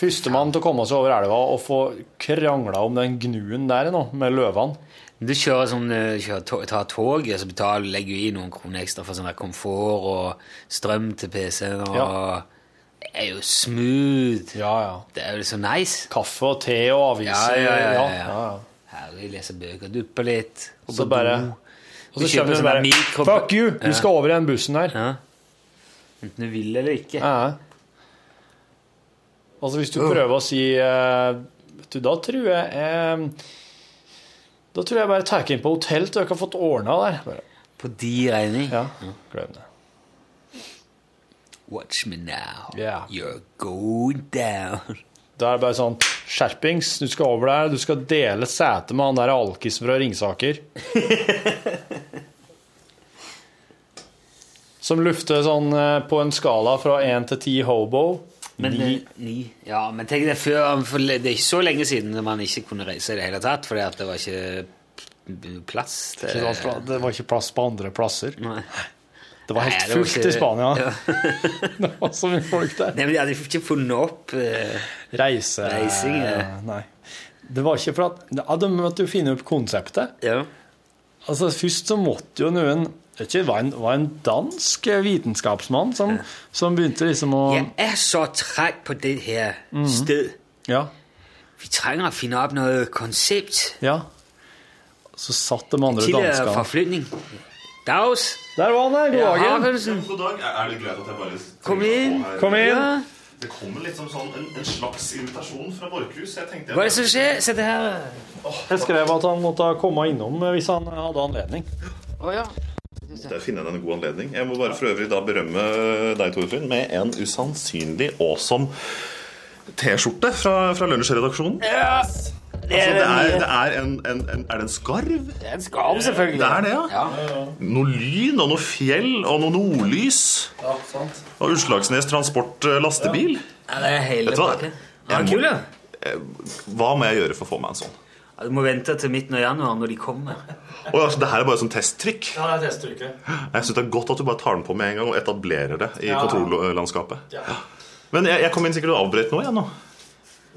Førstemann til å komme seg over elva og få krangla om den gnuen der nå, med løvene. Du kjører sånn, eh, kjører to- tar toget, så betaler, legger du i noen kroner ekstra for sånn der komfort og strøm til PC-en. og... Ja. Det er jo smooth. Det er jo så nice. Kaffe og te og aviser. Ja, ja, ja. ja, Ja, ja. Herlig, lese bøker, duppe litt. gå Så på bare do. Og så Du kjøper kommer det sånn bare der mikro- Fuck you! Du Ja. skal over i den bussen her. Enten du vil eller ikke. Ja. Altså hvis du prøver å si eh, vet du, Da tror jeg eh, Da tror jeg bare tar inn på hotell til dere har fått ordna der. Bare, På de regning? Ja, glem det. Watch me now. Yeah. You're going down. Da er det bare sånn Skjerpings, du skal over der. Du skal dele sete med han der alkisen fra Ringsaker. Som lufter sånn eh, på en skala fra én til ti hobo. Men, Ni. eh, ni. Ja, men tenk det før for Det er ikke så lenge siden man ikke kunne reise i det hele tatt, fordi at det var ikke p- plass til Ikke sant? Det var ikke plass på andre plasser. Nei. Det var helt Nei, det var fullt ikke- i Spania. Ja. det var så mye folk der. Nei, men De hadde ikke funnet opp eh, Reise... Reising, ja. Nei. Det var ikke for at ja, De måtte jo finne opp konseptet. Ja. Altså, Først så måtte jo noen jeg vet ikke, det var en, var en dansk vitenskapsmann som, som begynte liksom å Jeg er så trett på det her Mhm. sted. Ja. Vi trenger å finne opp noe konsept. ja. Så satt de andre Til eh, danskene forflytning. Daus. Der var han, der. Ja, God dagen. Avelsen. God dag. Er er det greit at jeg bare Kom inn. Kom inn. Ja. Det kommer liksom sånn en, en slags invitasjon fra Borchhus. Jeg tenkte jeg Hva er det som skjer? Sett det her. Jeg skrev at han måtte komme innom eh, hvis han hadde anledning. Å ja. Måtte jeg finne en god anledning. Jeg må bare for øvrig da berømme deg, Torfinn, med en usannsynlig awesome T-skjorte fra, fra lunsjredaksjonen. Ja. Det er, altså, det er, det er, en, en, en, er det en skarv? Det er en skarv, selvfølgelig. Det er det, ja. Noe lyn og noe fjell og noe nordlys. Ja, sant. Og Utslagsnes Transport eh, lastebil. Ja, det er hele Vet du hva? pakken. Jeg kul, ja. Eh, Hva må jeg gjøre for å få meg en sånn? Ja, Du må vente til midten av januar når de kommer. Og altså, det her er bare sånn testtrykk. Ja, det er testtrykket. Jeg synes Det er godt at du bare tar den på med en gang og etablerer det i Ja. kontorlandskapet. Ja. Men jeg, jeg kom inn sikkert og avbrøt nå, jeg nå.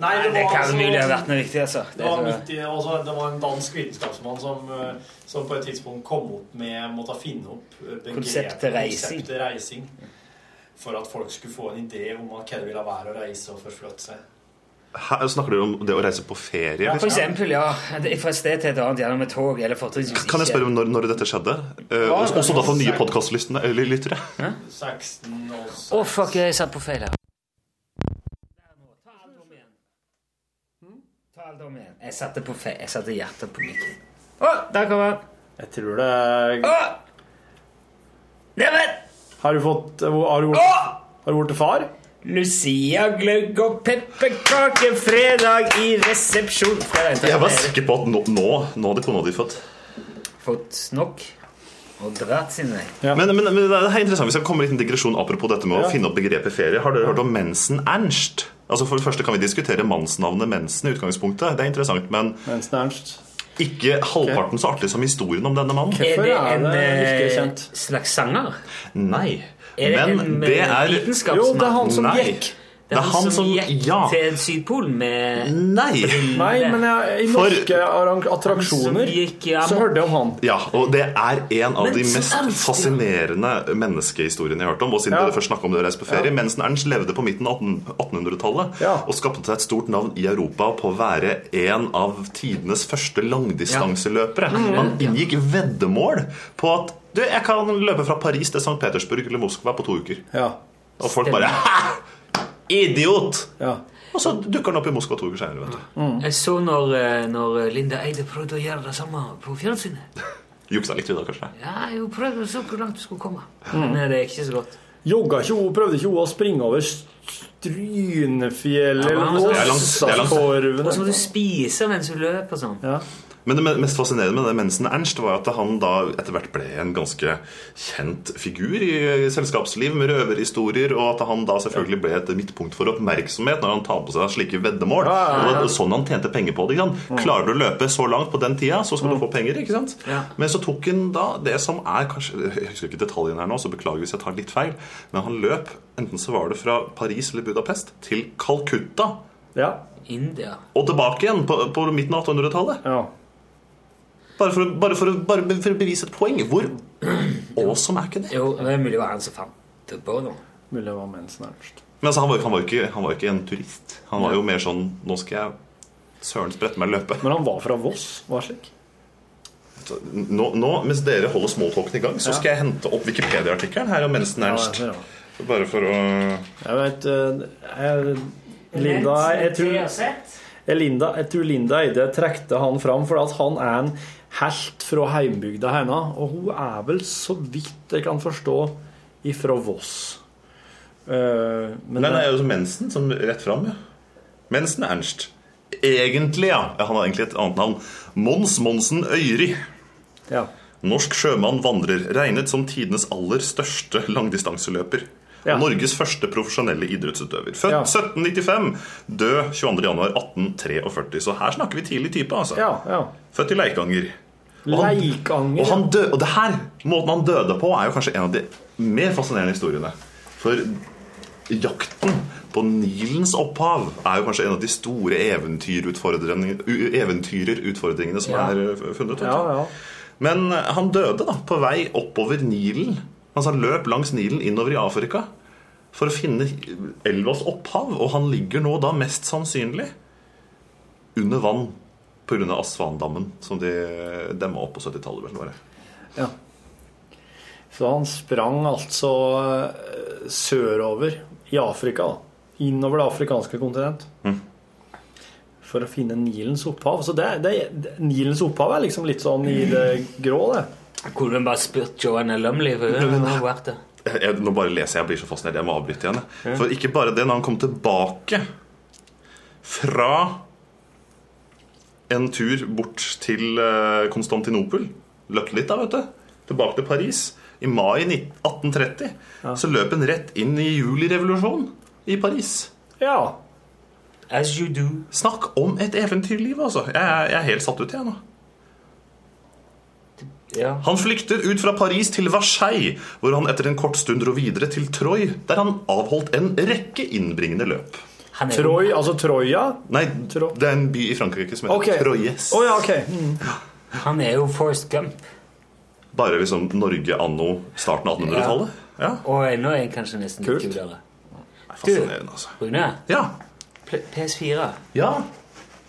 Nei, det kan mulig ha vært noe viktig, altså. Det var, tror jeg. midt i, altså, det var en dansk vitenskapsmann som, eh, som på et tidspunkt kom opp med måtte finne opp eh, begrepet Konseptet reising. konseptet reising. For at folk skulle få en idé om hva det ville være å reise og forflytte seg. Her snakker du om det å reise på ferie. Ja, for liksom. eksempel, ja. Det- Fra et sted til et annet, gjerne med tog eller fortrinnsvis Kan jeg spørre om når, når dette skjedde? Eh, Ja, også, også da for nye eh, ja. podkastlyttere. 16 og Å, fuck, jeg satt på feil her. Hmm? Ta alt om igjen. Jeg satte, på fe jeg satte hjertet på mikken. Å, der kommer han! Jeg tror det Å! Neimen! Har du fått eh, Har du blitt far? Lucia gløgg og pepperkake fredag i resepsjon. Skal jeg vente? Jeg var sikker på at nå, nå, nå hadde kona di fått Fått nok? Og dratt sine. Men, men, men det er helt interessant Hvis jeg kommer litt en digresjon apropos dette med Ja. å finne opp begrepet ferie. Har dere hørt om mensen Ernst? Altså For det første kan vi diskutere mannsnavnet Mensen i utgangspunktet. Det er interessant, men Ikke halvparten så artig som historien om denne mannen. Er det en eh, slags sanger? Nei. Er det Men en eh, det er- vitenskapsmann? Jo, det er han som Nei. gikk. Det er han, som gikk ja. til Sydpolen med Nei! Nei, men jeg, i For- norske arrang- attraksjoner gikk, ja, så hørte jeg om han. Ja, og det er en av de Mensen mest Ernst, ja. fascinerende menneskehistoriene jeg har hørt om. Og siden Ja. dere først snakket om det å reise på ferie Mensen Ernst levde på midten av 18- 1800-tallet og skapte seg et stort navn i Europa på å være en av tidenes første langdistanseløpere. Ja. Mm. Han inngikk veddemål på at du, jeg kan løpe fra Paris til St. Petersburg eller Moskva på to uker. Og folk bare Hæ! Idiot! Og så dukker han opp i Moskva to uker seinere, Mm. vet du. Jeg så når, eh, når Linda Eide prøvde å gjøre det samme på fjernsynet. Juksa litt, vi da, kanskje. Ja, hun prøvde å se hvor langt du skulle komme. Mm. Men eh, det gikk ikke så godt. Jogga ikke hun, prøvde ikke hun å springe over Strynefjellet Ja, men han- Det er langt, det er langt. Åsakorven Og så må du spise mens du løper sånn. Men det me- mest fascinerende med det mensen Ernst var at han da etter hvert ble en ganske kjent figur i selskapsliv med røverhistorier, og at han da selvfølgelig ble et midtpunkt for oppmerksomhet når han tar på seg slike veddemål. ja, ja. Og det var sånn han tjente penger på det. Ikke sant? Klarer du å løpe så langt på den tida, så Mm. skal du få penger. ikke sant? Men så tok han da det som er kanskje Jeg husker ikke detaljen her nå, så beklager hvis jeg tar litt feil, men han løp, enten så var det fra Paris eller Budapest, til Calcutta. India. Og tilbake igjen på, på midten av 1800-tallet. Bare, for, å- bare, for, å- bare for å bevise et poeng. Hvor awesome er ikke det? Jo, det er mulig det var han som fant det på nå. Mulig det var mensen Ernst. Men altså, han, var, han, var ikke, han var ikke en turist. Han var jo mer sånn Nå skal jeg søren sprette meg og løpe. Men han var fra Voss, var slik? Så Nå, nå mens dere holder smalltalken i gang, så Ja. skal jeg hente opp Wikipedia-artikkelen her om mensen Ernst. Ja, ja, Bare for å Jeg vet eh, jeg, Linda jeg tror, jeg, Linda, jeg tror Linda Eide trekte han fram fordi at han er en helt fra heimbygda hennes. Og hun er vel, så vidt jeg kan forstå, ifra Voss. Eh, men Nei, det- nei, altså mensen som rett fram, ja. Mensen Ernst. Egentlig, ja. Ja, Han har egentlig et annet navn. Mons Monsen Øyri. Ja. Norsk sjømann vandrer, regnet som tidenes aller største langdistanseløper. Og Norges første profesjonelle idrettsutøver. Født 1795, død 22.1.1843. Så her snakker vi tidlig type, altså. Født i Leikanger. Og han, Og, han dø, og det her, måten han døde på, er jo kanskje en av de mer fascinerende historiene. For jakten på Nilens opphav er jo kanskje en av de store eventyrutfordringene u- eventyrerutfordringene som Ja. er eh, funnet. vet du. Ja, ja. Men eh, han døde da, på vei oppover Nilen. Altså han løp langs Nilen innover i Afrika for å finne elvas opphav. Og han ligger nå da mest sannsynlig under vann pga. Asfandammen, som de demma opp på 70-tallet. vel bare. Ja. Så han sprang altså eh, sørover i Afrika, da. innover det afrikanske kontinent, Mhm. for å finne Nilens opphav. Så det, det, det, Nilens opphav er liksom litt sånn i det grå, det. Kunne hun bare spurt Joanna Lumley? For hun har jo vært der. Jeg, jeg, nå bare leser jeg, jeg blir så fascinert. Jeg må avbryte igjen. jeg. Ja. For ikke bare det, når han kom tilbake fra en tur bort til eh, Konstantinopel Løpt litt, da, vet du. Tilbake til Paris. I mai 19- 1830 så løp han rett inn i julirevolusjonen i Paris. Ja. As you do. Snakk om et eventyrliv, altså. Jeg, er- jeg er helt satt ut, jeg nå. Han flyktet ut fra Paris til Versailles, hvor han etter en kort stund dro videre til Troy, der han avholdt en rekke innbringende løp. er jo- Troy, altså Troja? Nei, det er en by i Frankrike som heter Ok. Troyes. Å ja, ok. Han er jo Forrest Gump. Bare liksom Norge anno starten av 1800-tallet. Og ennå er han kanskje nesten litt kulere. Fascinerende, altså. Rune? Ja? P- PS4. Ja.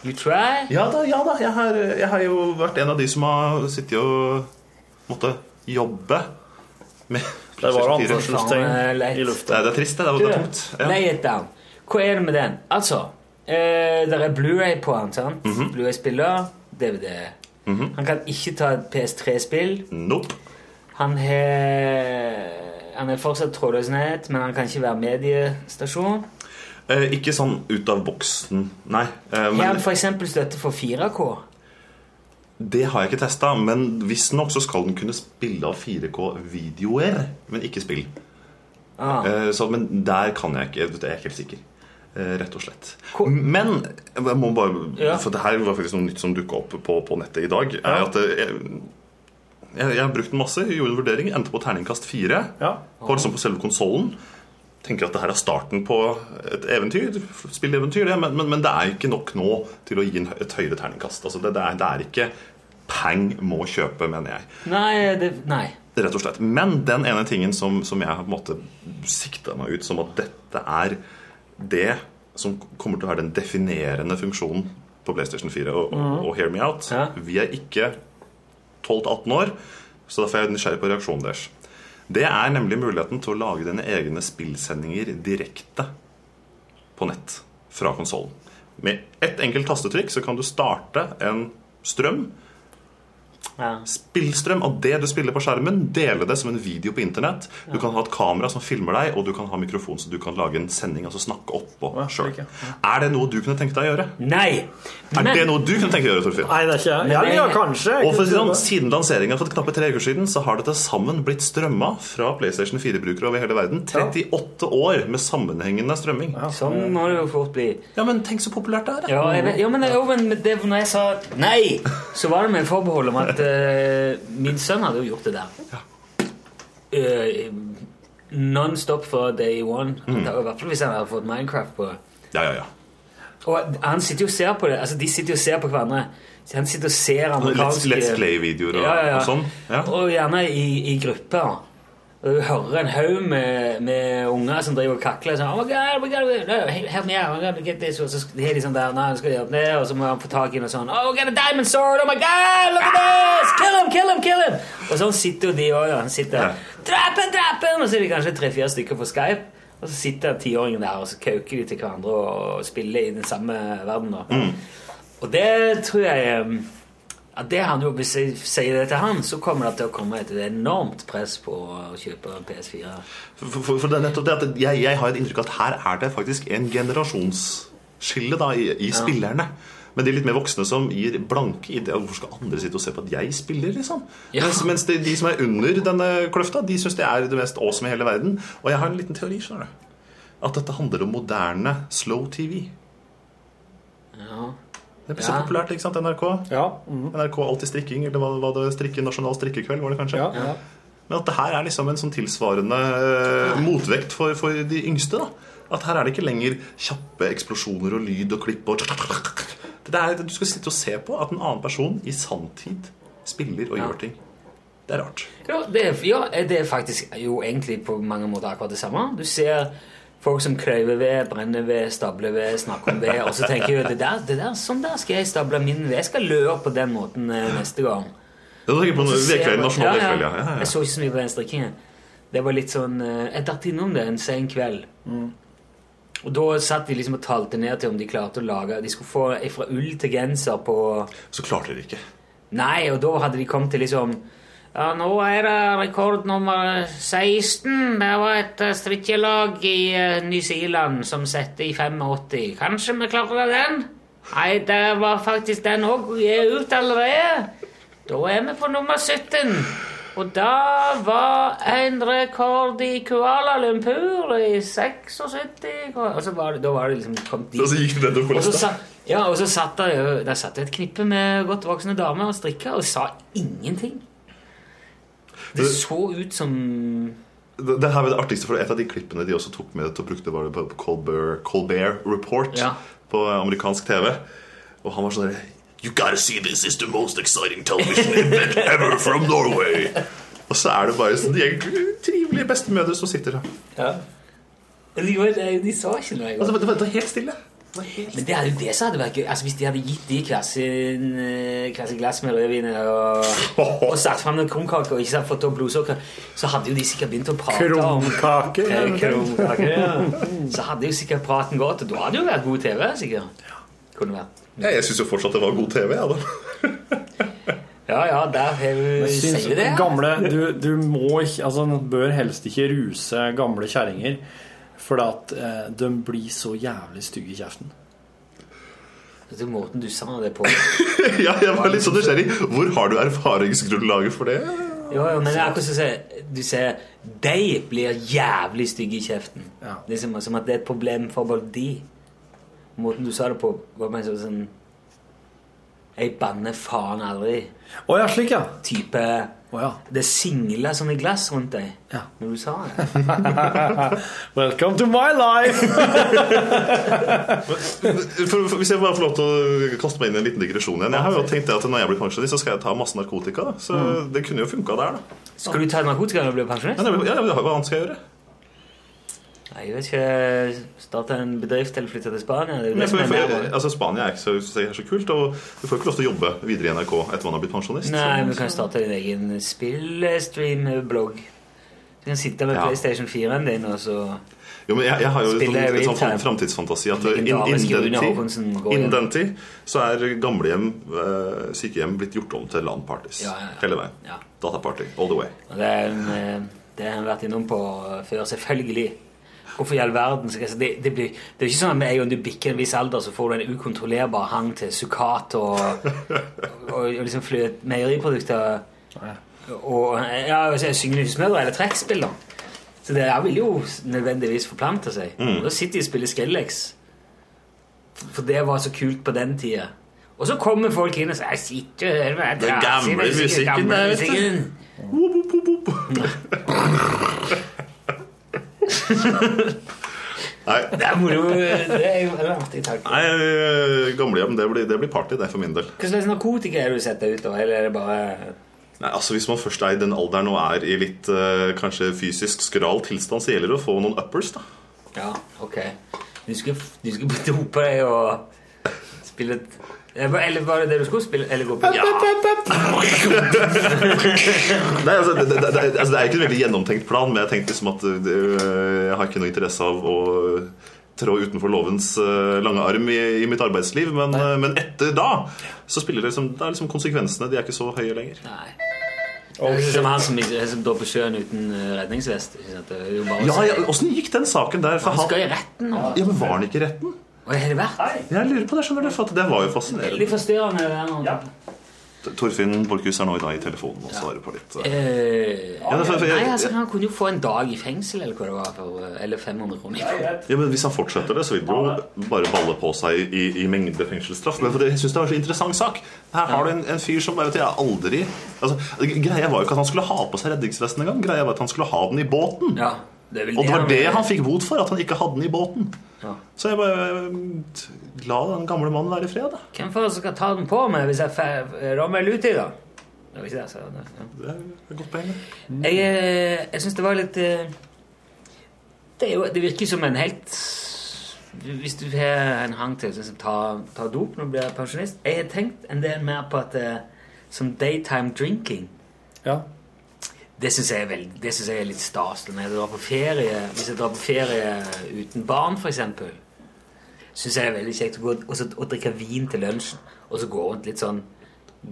You try? Ja da, ja da. Jeg har, jeg har jo vært en av de som har sittet og måtte jobbe med Der var det PlayStation 4. eh, anførselstegn i lufta. Nei, det er trist, det. Det er- det er tungt. Ja. Lay it down. Hva er det med den? Altså, eh, der er Blu-ray på han, sant? Mhm. Blu-ray-spiller, DVD. Han kan ikke ta et PS3-spill. Nope. Han har Han er fortsatt trådløs nett, men han kan ikke være mediestasjon. Eh, ikke sånn ut av boksen, nei. Eh, Har men han f.eks. støtte for 4K? Det har jeg ikke testa, men visstnok så skal den kunne spille av 4K-videoer, men ikke spill. Ah. Eh, Så, men der kan jeg ikke. Det er jeg ikke helt sikker. Eh, Rett og slett. Men jeg må bare, Ja. For det her var faktisk noe nytt som dukka opp på, på nettet i dag. Er at eh, jeg, jeg, jeg har brukt den masse, gjorde en vurdering, endte på terningkast fire. På, liksom på selve konsollen. Tenker at det her er starten på et eventyr, spilleeventyr, det, men, men, men det er ikke nok nå til å gi en, hø- et høyere terningkast. Altså det, det, er, det er ikke pang må kjøpe, mener jeg. Nei, det, nei. Rett og slett. Men den ene tingen som, som jeg har på en måte sikta meg ut som at dette er det som kommer til å være den definerende funksjonen på PlayStation 4 og, og, Mhm. og Hear Me Out Vi er ikke 12-18 år, så derfor er jeg nysgjerrig på reaksjonen deres. Det er nemlig muligheten til å lage dine egne spillsendinger direkte på nett fra konsollen. Med ett enkelt tastetrykk så kan du starte en strøm Spillstrøm av det du spiller på skjermen, dele det som en video på internett. Du kan ha et kamera som filmer deg, og du kan ha mikrofon så du kan lage en sending. altså snakke oppå selv. Er det noe du kunne tenke deg å gjøre? Nei! Er Men- det noe du kunne tenke deg å gjøre, Torfinn? Nei, det er ikke Ja, ja, kanskje. Og for å si det sånn, Siden lanseringen for et knappe tre uker siden Så har det til sammen blitt strømma fra PlayStation 4-brukere over hele verden. 38 år med sammenhengende strømming. Sånn må det jo fort bli. Ja, men tenk så populært det er, da. Ja, jeg vet, ja men, jo, men det, når jeg sa nei, så var det med forbehold om at eh, min sønn hadde jo gjort det der. Eh, non stop fra day one. Mm. Da, I hvert fall hvis han hadde fått Minecraft på. Ja, ja, ja. Og han sitter jo og ser på det. Altså, de sitter jo og ser på hverandre. Så han sitter og ser Let's, amerikanske let's Play-videoer og, Ja, ja, ja. og sånn. Og gjerne i, i grupper. Og du hører en haug med, med unger som driver og kakler. Sånn, oh my God, oh my God, oh my God, help me out, oh my God, get this. Og så er de sånn der, nei, nå skal de opp ned, og så må han få tak i noe sånn. Oh, we got a diamond sword, oh my God, look at this! Kill him, kill him, kill him! Og sånn sitter jo de også, han sitter Drap him, drap him! Og så er de kanskje tre-fire stykker på Skype. Og så sitter tiåringen der, og så kauker de til hverandre og spiller i den samme verden. da. Og det tror jeg um, at det han jo, Hvis jeg sier det til han, så kommer det til å komme et enormt press på å kjøpe en PS4. For, for, for det er nettopp det at jeg, jeg har et inntrykk av at her er det faktisk en generasjonsskille da, i, i Ja. spillerne. Men de litt mer voksne som gir blanke ideer. Hvorfor skal andre sitte og se på at jeg spiller? liksom? Mens, mens de, de som er under denne kløfta, de syns det er det mest awesome i hele verden. Og jeg har en liten teori. skjønner du. At dette handler om moderne slow TV. Ja. Det blir så Ja. populært, ikke sant? NRK. NRK Alltid strikking, eller hva, hva det strikke, Nasjonal strikkekveld, var det kanskje? Ja. Men at det her er liksom en sånn tilsvarende eh, motvekt for, for de yngste, da. At her er det ikke lenger kjappe eksplosjoner og lyd og klipp og det er, Du skal sitte og se på at en annen person i sanntid spiller og gjør ting. Det er rart. Ja, det er, ja, eh, det er faktisk jo egentlig på mange måter akkurat det samme. Du ser folk som kløyver ved, brenner ved, stabler ved, snakker om ved, og så tenker du det der, det der, sånn der skal jeg stable min ved. Jeg skal løpe på den måten eh, neste gang. Ja, du tenker på Og så ser Vekvelden, man- Ja, Nasjonal ja. Vekveld, ja. Ja, ja. Jeg så ikke så mye på den strikkingen. Det var litt sånn eh, Jeg datt innom det en sen kveld. Mm. Og da satt de liksom og talte ned til om de klarte å lage De skulle få ei fra ull til genser på Så klarte de ikke. Nei, og da hadde de kommet til liksom ja, nå er det rekord nummer 16. Det var et eh, strikkelag i eh, New Zealand som satte i 85. Kanskje vi klarer den? Nei, det var faktisk den òg. Vi er ute allerede. Da er vi på nummer 17. Og da var en rekord i Kuala Lumpur i 76. Og så var det, da var det liksom kommet dit. Og så gikk det nedover på Og så lista. sa- Ja, og så satt der, jo- der satt det et knippe med godt voksne damer og strikka og sa ingenting. Det så ut som Det, det her var det artigste, for Et av de klippene de også tok med og brukte, var det på Colbert, Colbert Report på amerikansk TV. Og han var sånn der, You gotta see this is the most exciting television event ever from Norway! Og så er det bare sånn, de egentlig trivelige bestemødre som sitter der. De, var- de sa ikke noe. Altså, det var- det var helt stille. Men det er jo det som hadde vært gøy. Altså, Hvis de hadde gitt de hver sin, eh, hver sin glass med rødvin og, og satt fram noen krumkaker og ikke satt- fått opp blodsukker, så hadde jo de sikkert begynt å prate om Krumkaker, Eh, ja, men- krumkaker, ja. Så hadde jo sikkert praten gått, og da hadde det jo vært god TV. sikkert. Kunne vært. Ja, jeg syns jo fortsatt det var god TV. Ja, da. Ja, ja, der har Jeg du syns- Sier vi det? Gamle, du, du må ikke Altså, en bør helst ikke ruse gamle kjerringer, for at eh, de blir så jævlig stygge i kjeften. Vet du måten du sa det på? ja, jeg var litt sånn nysgjerrig. Hvor har du erfaringsgrunnlaget for det? Jo, jo, men det er akkurat som å si- du sier De blir jævlig stygge i kjeften. Det er som, som at det er et problem for bare de. Måten du sa det på, var mer sånn sånn Jeg banner faen aldri. Å ja, slik, ja. Type Det singla som i glass rundt deg når du sa det. Welcome to my life! For, for, hvis jeg bare får lov til å kaste meg inn i en liten digresjon igjen Jeg har jo tenkt det at når jeg blir pensjonist, så skal jeg ta masse narkotika. Da. Så det kunne jo funka der, da. Skal du ta narkotika når du blir pensjonist? Ja, det- ja, det- hva annet skal jeg gjøre? Nei, jeg vet ikke. Starte en bedrift eller flytte til Spania? Det er jo Men det jeg som får- er jeg nærmere. får- altså, Spania er ikke så, så, så kult, og du får ikke lov til å jobbe videre i NRK etter man har blitt pensjonist. Nei, men du så, kan starte din egen spillstream-blogg. Du kan sitte med Ja. PlayStation 4-en din og så Jo, men jeg, jeg har jo Spiller et, et real sånn fram- time. framtidsfantasi at eh, inn- Legendariske Rune Håkonsen innen går den igjen. tid- innen den tid så er gamlehjem, eh, sykehjem, blitt gjort om til LAN-parties. Ja, ja, ja. Hele veien. Dataparty all the way. og Det er en, eh, det har han vært innom på eh, før, selvfølgelig. Hvorfor i all verden? skal jeg si- Det, det, blir, det er jo ikke sånn at med en gang du bikker en viss alder, så får du en ukontrollerbar hang til sukkat og, og, og liksom fløt, meieriprodukter. Og ja, altså, syngende husmødre eller trekkspill, da. Så det her vil jo nødvendigvis forplante seg. Mm. Og Da sitter de og spiller Skrillex. For det var så kult på den tida. Og så kommer folk inn og sier 'Jeg sitter og hører på Den gamle trasige musikken, musikken gamle der, vet du.» musikken.» Nei. Det er moro. Det er jo en artig tanke. Nei, eh, gamlehjem, det blir, det blir party, det, for min del. Hva slags narkotika er det du setter ut, da? Eller er det bare Nei, altså Hvis man først er i den alderen og er i litt eh, kanskje fysisk skral tilstand, så gjelder det å få noen uppers, da. Ja, ok. Du skulle, du skulle dope deg og spille et Eller var det det du skulle spille? Eller gå på? Ja. Nei, altså, det, det, det, altså, det er ikke en veldig gjennomtenkt plan, men jeg tenkte liksom at øh, jeg har ikke noe interesse av å trå utenfor lovens øh, lange arm i, i mitt arbeidsliv. Men, øh, men etter da så spiller det liksom, det er liksom konsekvensene de er ikke så høye lenger. Oh, Det er sånn som han som, som dør på sjøen uten eh, redningsvest. ikke sant? Det er jo bare å Ja, si- ja, Åssen gikk den saken der? For Han skal i retten nå. Ja, men Var han ikke i retten? Hva har det vært? Jeg lurer på det, skjønner du, for at det var jo Veldig fascinerende. forstyrrende. det her nå. Torfinn Borchhus er nå i dag i telefonen og svarer på litt. øh. Eh, Ja, det er for- for jeg- nei, altså, han kunne jo få en dag i fengsel eller hva det var, for, eh, eller 500 kroner. Ja, men Hvis han fortsetter det, så vil det jo bare balle på seg i, i mengde fengselsstraff. Men for det, jeg synes det var en så interessant sak. Her har du en, en fyr som bare vet jeg aldri altså, Greia var jo ikke at han skulle ha på seg redningsvesten engang. Greia var at han skulle ha den i båten. det er vel Og det var han- det han fikk bot for, at han ikke hadde den i båten. Ja. Så jeg bare eh, La den gamle mannen være i fred, da. Hvem faen som skal ta den på meg hvis jeg fer- rammer ut i da? Det var ikke det jeg sa. det- ja. Jeg, eh, jeg syns det var litt eh, det, er jo, det virker som en helt Hvis du har en hang til å ta, ta dop når du blir pensjonist Jeg har tenkt en del mer på at eh, som daytime drinking Det syns jeg, er veld- det synes jeg er litt stas når jeg drar på ferie. Hvis jeg drar på ferie uten barn, f.eks., syns jeg det er veldig kjekt å gå og, så, og drikke vin til lunsjen og så gå rundt litt sånn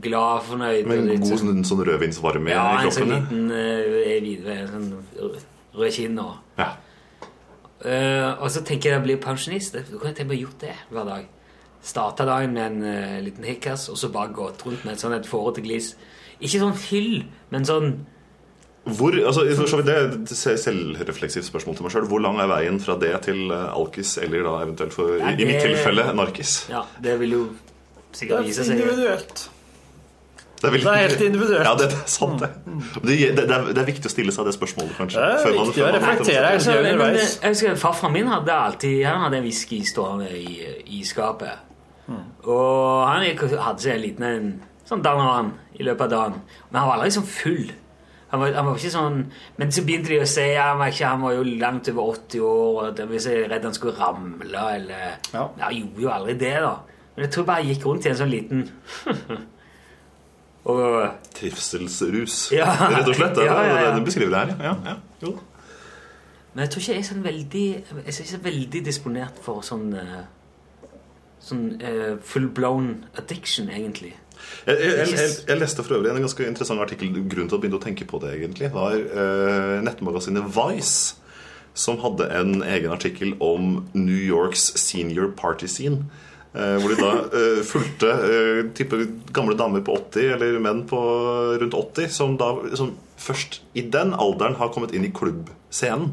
glad, fornøyd og Med en litt god sånn- sånn, sånn rødvinsvarme ja, i en sånn kroppen. ja. liten eh, videre, en sånn rød kinn og Ja. Eh, og så tenker jeg at jeg blir pensjonist. Da kan jeg tenke meg å gjort det hver dag. Starta dagen med en eh, liten hikkas, og så bare gått rundt med et sånn et fårete glis. Ikke sånn fyll, men sånn Hvor, altså, for så vidt det er et selvrefleksivt spørsmål til meg selv. Hvor lang er veien fra det til eh, alkis, eller da eventuelt for, i, i mitt det- tilfelle narkis? Ja, det vil jo sikkert vise seg. individuelt. Det er, helt individuelt. Ja, det, det er sant, det. Men Det, det, er, det er viktig å stille seg det spørsmålet, kanskje. Det er før man- viktig å før man- reflektere, jeg Altså, sier men, men, underveis. jeg husker Farfar min hadde alltid Han hadde en whisky stående i, i skapet. Mm. Og han gikk, og hadde seg en liten en, sånn danan i løpet av dagen. Men han var aldri sånn full. Han var, han var ikke sånn, men så begynte de å si ja, han, var ikke, han var jo langt over 80 år, og de var så redd han skulle ramle. Eller, ja. Han gjorde jo aldri det, da. Men jeg tror bare jeg gikk rundt i en sånn liten og, sånn Trivselsrus, Ja. rett og slett. Det, Ja, ja, ja. det, det beskriver det her. ja. Ja, ja. Jo. Men jeg tror ikke jeg er sånn veldig Jeg er ikke så veldig disponert for sånn eh, Sånn eh, full-blown addiction, egentlig. Jeg, jeg, jeg, jeg, jeg leste for øvrig en ganske interessant artikkel. Grunnen til at jeg begynte å tenke på det, egentlig, var eh, nettmagasinet Vice, som hadde en egen artikkel om New Yorks senior party scene. Eh, hvor de da eh, fulgte eh, type gamle damer på 80 eller menn på rundt 80 som da som først i den alderen har kommet inn i klubbscenen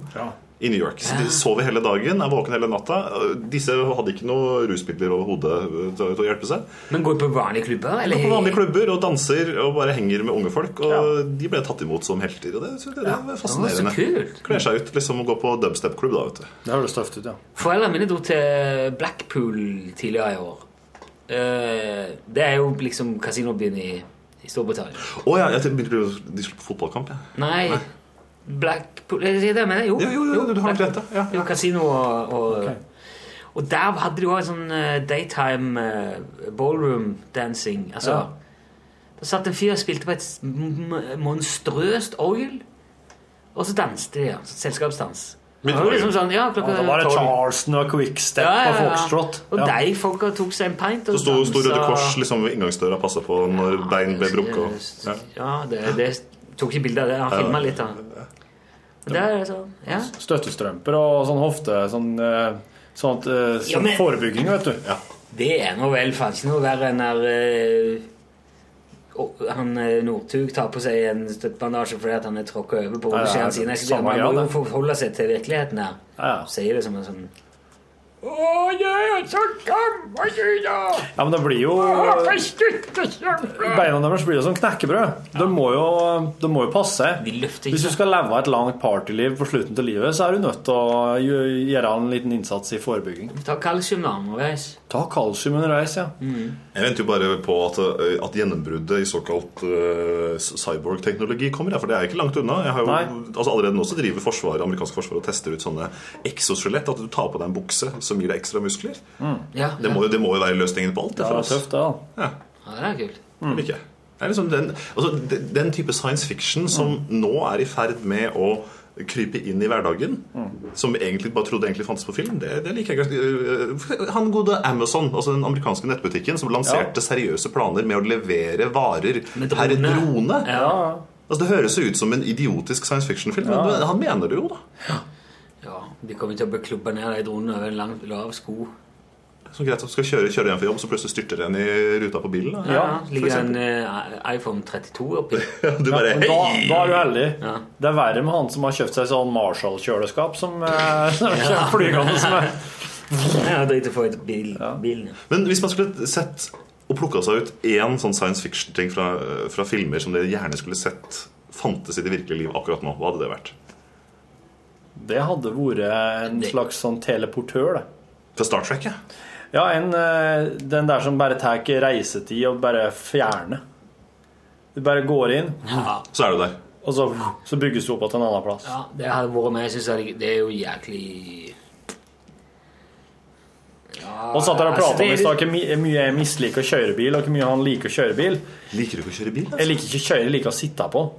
i New York. Så de sover hele dagen, er våken hele natta. Eh, Disse hadde ikke noe rusmidler overhodet eh, til til å hjelpe seg. Men går på vanlige klubber? Eller? Går på vanlige klubber og danser og bare henger med unge folk. Og de ble tatt imot som helter. Og det, så det, det Ja. var fascinerende. Å, så kult. Kler seg ut liksom og går på dubstep-klubb, da, vet du. Det høres tøft ut, ja. Foreldrene mine dro til Blackpool tidligere i år. Eh, det er jo liksom kasinobyen i, i Storbritannia. Å ja, jeg tenkte- begynte å- de skulle på fotballkamp, jeg. Nei, Blackpool er det det jeg mener? Jo, jo, du har rett. Ja. Det var kasino og, og, og der hadde de òg en sånn eh, daytime eh, ballroom dancing. Altså, Ja. Da satt en fyr og spilte på et s- m- m- monstrøst orgel, og så danset de. Ja. Selskapsdans. Det var jo liksom sånn, ja, klokka da var det 12. Charleston og Quickstep og Foxtrot. Og Ja. de folka tok seg en pint. Så Og sto, sto Røde dansa. Kors liksom ved inngangsdøra og passa på når bein ble brukket. og- Ja. Ja, det, det tok ikke bilde av det. Han Ja. filma litt av det. Men der er det sånn, ja. Støttestrømper og sånn hofte Sånn, eh, sånn, at, eh, Ja, sånn men- forebygging, vet du. Det er nå vel faen ikke noe verre enn når eh, og- han eh, Northug tar på seg en støttbandasje fordi at han er tråkka over på Ja, ja, beskjeden det- sin. Jeg samme skal- Man må greia, jo det. forholde seg til virkeligheten her. Sier det som en sånn Å, jeg er så gammel, du, da! Ja, men det blir jo I beina deres blir det som knekkebrød. De må jo, de må jo passe. Hvis du skal leve et langt partyliv på slutten av livet, så er du nødt til å gjø- gjøre en liten innsats i forebygging. Ta kalsium da, underveis. Ta kalsium underveis, ja. Mm. Jeg venter jo bare på at, ø, at gjennombruddet i såkalt ø, s- cyborg-teknologi kommer. Ja, for det er ikke langt unna. Jeg har jo, altså Allerede nå så driver forsvaret, amerikanske forsvaret og tester ut sånne exoskjelett. At du tar på deg en bukse som gir deg ekstra muskler. Ja, Det må, jo- det må jo være løsningen på alt. Ja, for det er oss. tøft, det, altså. Mm. da. ja, det er kult. Det liker jeg. Det er liksom den, altså, de- den type science fiction som Mm. nå er i ferd med å krype inn i hverdagen, Mm. som vi egentlig bare trodde egentlig fantes på film, det, det liker jeg ganske øh, Han gode Amazon, altså den amerikanske nettbutikken, som lanserte seriøse planer med å levere varer per drone. drone. Ja. Altså, det høres jo ut som en idiotisk science fiction-film, Ja. men han mener det jo, da. Ja, De kommer til å bli klubba ned de dronene over en lang, lav sko. Så greit at du skal kjøre, kjøre hjem fra jobb, så plutselig styrter en i ruta på bilen. da. Ja, For Ligger det en eksempel. eh, iPhone 32 oppi? du bare, Men da, hei! da er du heldig. Det er verre med han som har kjøpt seg sånn Marshall-kjøleskap som eh, som kommer flygende som er Ja, driter for et bil, bilen. Men hvis man skulle sett og plukka seg ut én sånn science fiction-ting fra, eh, fra filmer som dere gjerne skulle sett fantes i det virkelige liv akkurat nå, hva hadde det vært? Det hadde vært en slags sånn teleportør, det. Fra Star Trek, ja? Ja, en, eh, den der som bare tar ikke reisetid og bare fjerner. Du bare går inn, Så er du der. og så, så bygges du opp til en annen plass. Ja, det hadde vært med. Jeg synes det, er- det er jo jæklig ja, Og satt der og altså, prata om i det er- stad hvor my- hvor mye jeg misliker å kjøre bil, og hvor mye han liker å kjøre bil. Liker du ikke å kjøre bil? altså? Jeg liker ikke å kjøre, jeg liker å sitte på.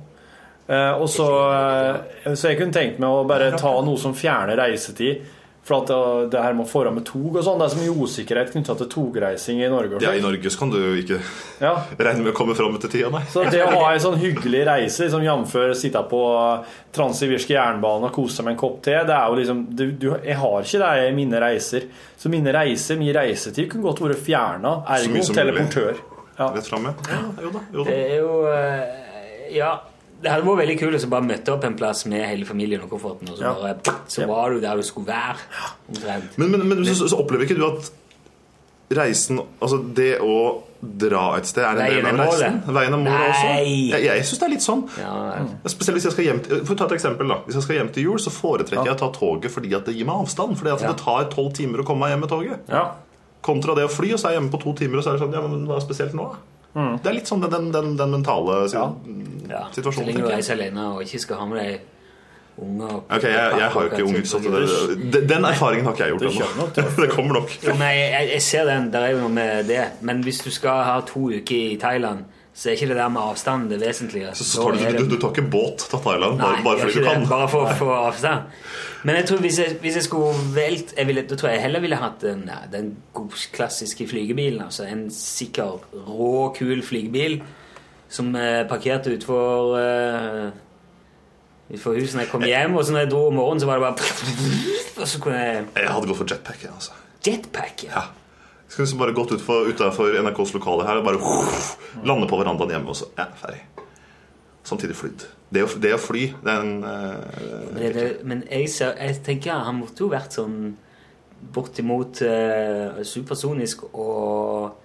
Eh, og så, eh, så jeg kunne tenkt meg å bare ta noe som fjerner reisetid. For at eh, det, det her med å få med tog og sånn, det er så mye usikkerhet knytta til togreising i Norge. og Ja, sånn. I Norge så kan du ikke Ja. regne med å komme fram til tida, nei. Så det å ha ei sånn hyggelig reise, liksom jf. sitte på eh, transsibirske jernbane og kose seg med en kopp te, det er jo liksom du, du, Jeg har ikke det i mine reiser. Så mine reiser, min reisetid, kunne godt vært fjerna. Så Ergo mye som teleportør. Rett frem, ja. jo da, jo Det er jo eh, Ja. Det hadde vært veldig kult hvis du bare møtte opp en plass med hele familien og kofferten, og så, Ja. bare, så var du der du skulle være. Omtrent. Men, men, men så, så opplever ikke du at reisen Altså det å dra et sted er en Veien del av er målet. reisen? Veien er målet også? Nei. Jeg, jeg syns det er litt sånn. Spesielt hvis jeg skal hjem til, For å ta et eksempel da Hvis jeg skal hjem til jul, så foretrekker jeg å ta toget fordi at det gir meg avstand. Fordi at det tar tolv timer å komme meg hjem med toget. Kontra det å fly, og så er jeg hjemme på to timer, og så er det sånn Ja, men hva er spesielt nå, da? Det er litt sånn den, den, den, den mentale si- Så situasjonen, lenge du tenker jeg. reiser alene og ikke skal ha med deg unger og Ok, jeg, jeg har jo ikke unger, så det, den- den erfaringen har ikke jeg Du kjører gjort ennå. Det kommer nok. Jo, nei, jeg, jeg ser den, der er jo noe med det. Men hvis du skal ha to uker i Thailand, så er ikke det der med avstand det vesentlige. Så, så tar du, du, du tar ikke båt til Thailand bare, bare fordi du kan? Bare for, for avstand. Men jeg tror hvis jeg, hvis jeg skulle velt jeg ville, Da tror jeg heller ville hatt den, ja, den gode, klassiske flygebilen. Altså en sikker, rå, kul flygebil som eh, parkerte utfor eh, Utfor huset når jeg kom hjem, og så når jeg dro om morgenen, så var det bare Og så kunne jeg Jeg hadde gått for jetpack. jeg, altså. Jetpack, ja. Skulle liksom bare gått utfor- utenfor NRKs lokale her og bare uff, lande på verandaen hjemme, og så er jeg ferdig. Samtidig flydd. Det, å- det å fly, det er en eh, Men, det, men jeg, ser, jeg tenker han måtte jo vært sånn bortimot eh, supersonisk og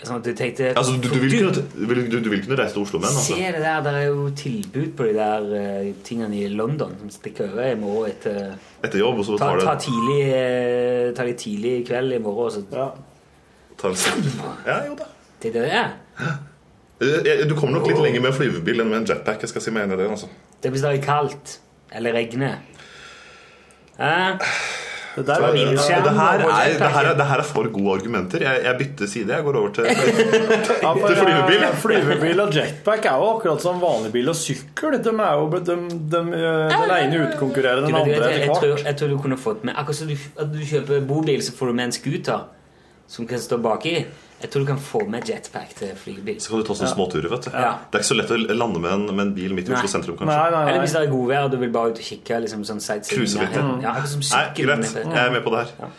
sånn at du tenkte Altså, du, du, vil kunne, du, vil, du, du vil kunne reise til Oslo med den? Se Altså. det der, det er jo tilbud på de der eh, tingene i London som stikker over i morgen etter Etter jobb, og så Ta, tar du ta, tidlig, eh, ta de tidlig i kveld i morgen, og så tar en- Ja, jo da. Det er det det er. Eh, eh, Du kommer nok litt lenger med en flyvebil enn med en jetpack. Jeg skal si meg enig i det, altså. Det blir stadig kaldt. Eller regner. Eh? Det, der, var det, min skjerm, det, her og vår er, jetpack. det, her er, det her er for gode argumenter. Jeg, jeg bytter side. Jeg går over til Ja, for, Til flyvebil. eh, flyvebil og jetpack er jo akkurat som vanlig bil og sykkel. De er jo, de, de, eh, den ene utkonkurrerer Du den vet, andre du vet, etter jeg, jeg, hvert. tror, jeg tror du kunne fått med Akkurat som du, at du kjøper bobil, så får du med en scooter som kan stå baki. Jeg tror du kan få med jetpack til flybil. Så kan du ta sånne småturer, vet du. Ja. Det er ikke så lett å lande med en, med en bil midt i Nei. Oslo sentrum, kanskje. Eller hvis det er godvær og du vil bare ut og kikke. Liksom, sånn sightseeing Cruise i litt. nærheten. Ja, akkurat som Nei, sykkel. greit. nede. Jeg er med på det her.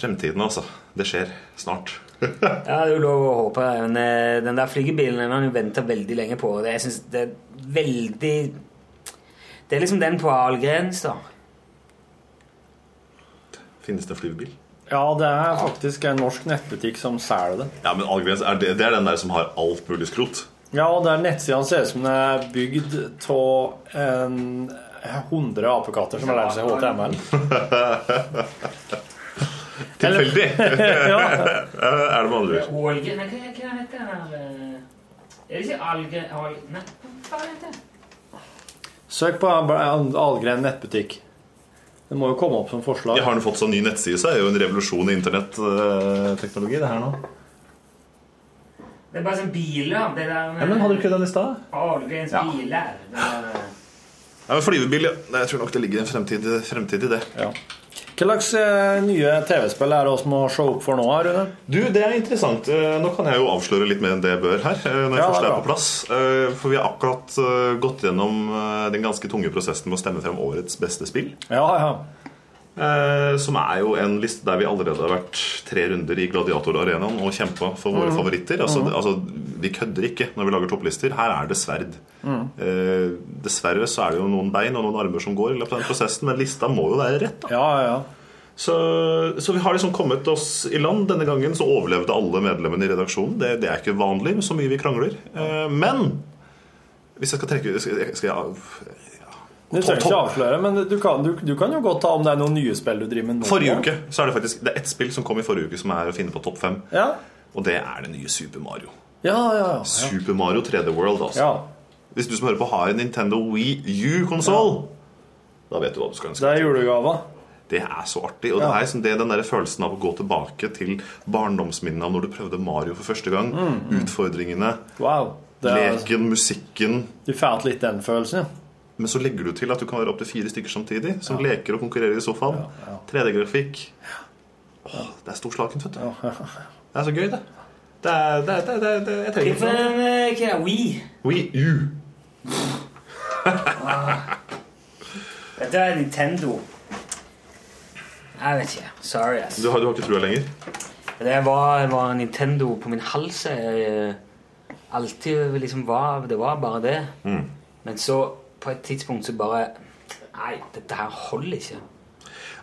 Fremtiden, altså. Det skjer snart. Ja, det er jo lov å håpe. Men eh, den der flygebilen den har han jo venta veldig lenge på. og Det, jeg synes det er veldig Det er liksom den på Ahlgrens, da. Finnes det en flyvebil? Ja, det er faktisk en norsk nettbutikk som selger det. Ja, men Algrens, er det, det er den der som har alt mulig skrot. Ja, og der nettsida ser ut som den er bygd av en 100 apekatter som har lært seg HTML. Tilfeldig! Ja. er det med andre ord. Ålge Nei, hva hva heter den her eh, Er det ikke Alge... Alge nei, hva heter det? Søk på Algren nettbutikk. Det må jo komme opp som forslag. Jeg har nå fått sånn ny nettside, så er det jo en revolusjon i internetteknologi, det her nå. Det er bare sånn biler. Det der med Ja, men hadde du ikke den i stad? Ahlgrens Ja. biler. Det der, eh. Ja, men Flyvebil, ja. Nei, Jeg tror nok det ligger en fremtid, fremtid i det. Hva slags eh, nye TV-spill er det vi må se opp for nå, her, Rune? Du, Det er interessant. Eh, Nå kan jeg jo avsløre litt mer enn det jeg bør her. eh, Når jeg Ja, først det er er på plass Eh, For vi har akkurat eh, gått gjennom eh, den ganske tunge prosessen med å stemme frem årets beste spill. Eh, Som er jo en liste der vi allerede har vært tre runder i Gladiatorarenaen og kjempa for våre Mhm. favoritter. Altså, Mhm. altså, Vi kødder ikke når vi lager topplister. Her er det sverd. Mm. Eh, dessverre så er det jo noen bein og noen armer som går i løpet av den prosessen, men lista må jo være rett. da Så, så vi har liksom kommet oss i land. Denne gangen så overlevde alle medlemmene i redaksjonen. Det, det er ikke vanlig så mye vi krangler. Eh, men hvis jeg skal trekke Skal jeg, skal jeg Du trenger ikke avsløre, men du kan, du, du kan jo godt ta om det er noen nye spill du driver med nå. Forrige uke så er det faktisk Det er ett spill som kom i forrige uke som er å finne på topp fem. Ja, Og det er det nye Super Mario. ja, ja. ja. Super Mario 3D World, altså. Hvis du som hører på har en Nintendo Wii U-konsoll, da vet du hva du skal ønske. Det er julegava. Det er så artig. Og det Ja. er liksom det, den der følelsen av å gå tilbake til barndomsminnene av når du prøvde Mario for første gang. Mm, mm. Utfordringene, Wow. Det er, leken, musikken. du får litt den følelsen, ja. Men så legger du til at du kan være opptil fire stykker samtidig, som leker og konkurrerer i sofaen. 3D-grafikk. Åh, det er storslagent, vet du. Det er så gøy, det. Det er, det er, det er, det er, det er, jeg trenger Hva ikke noe. eh, hva er We? Wii U. Dette er Nintendo. Jeg vet ikke. Sorry, ass. Du har, du har ikke trua lenger? Det var, var Nintendo på min hals. Jeg, eh, alltid liksom var Det var bare det. Mm. Men så, på et tidspunkt, så bare Nei, dette her holder ikke.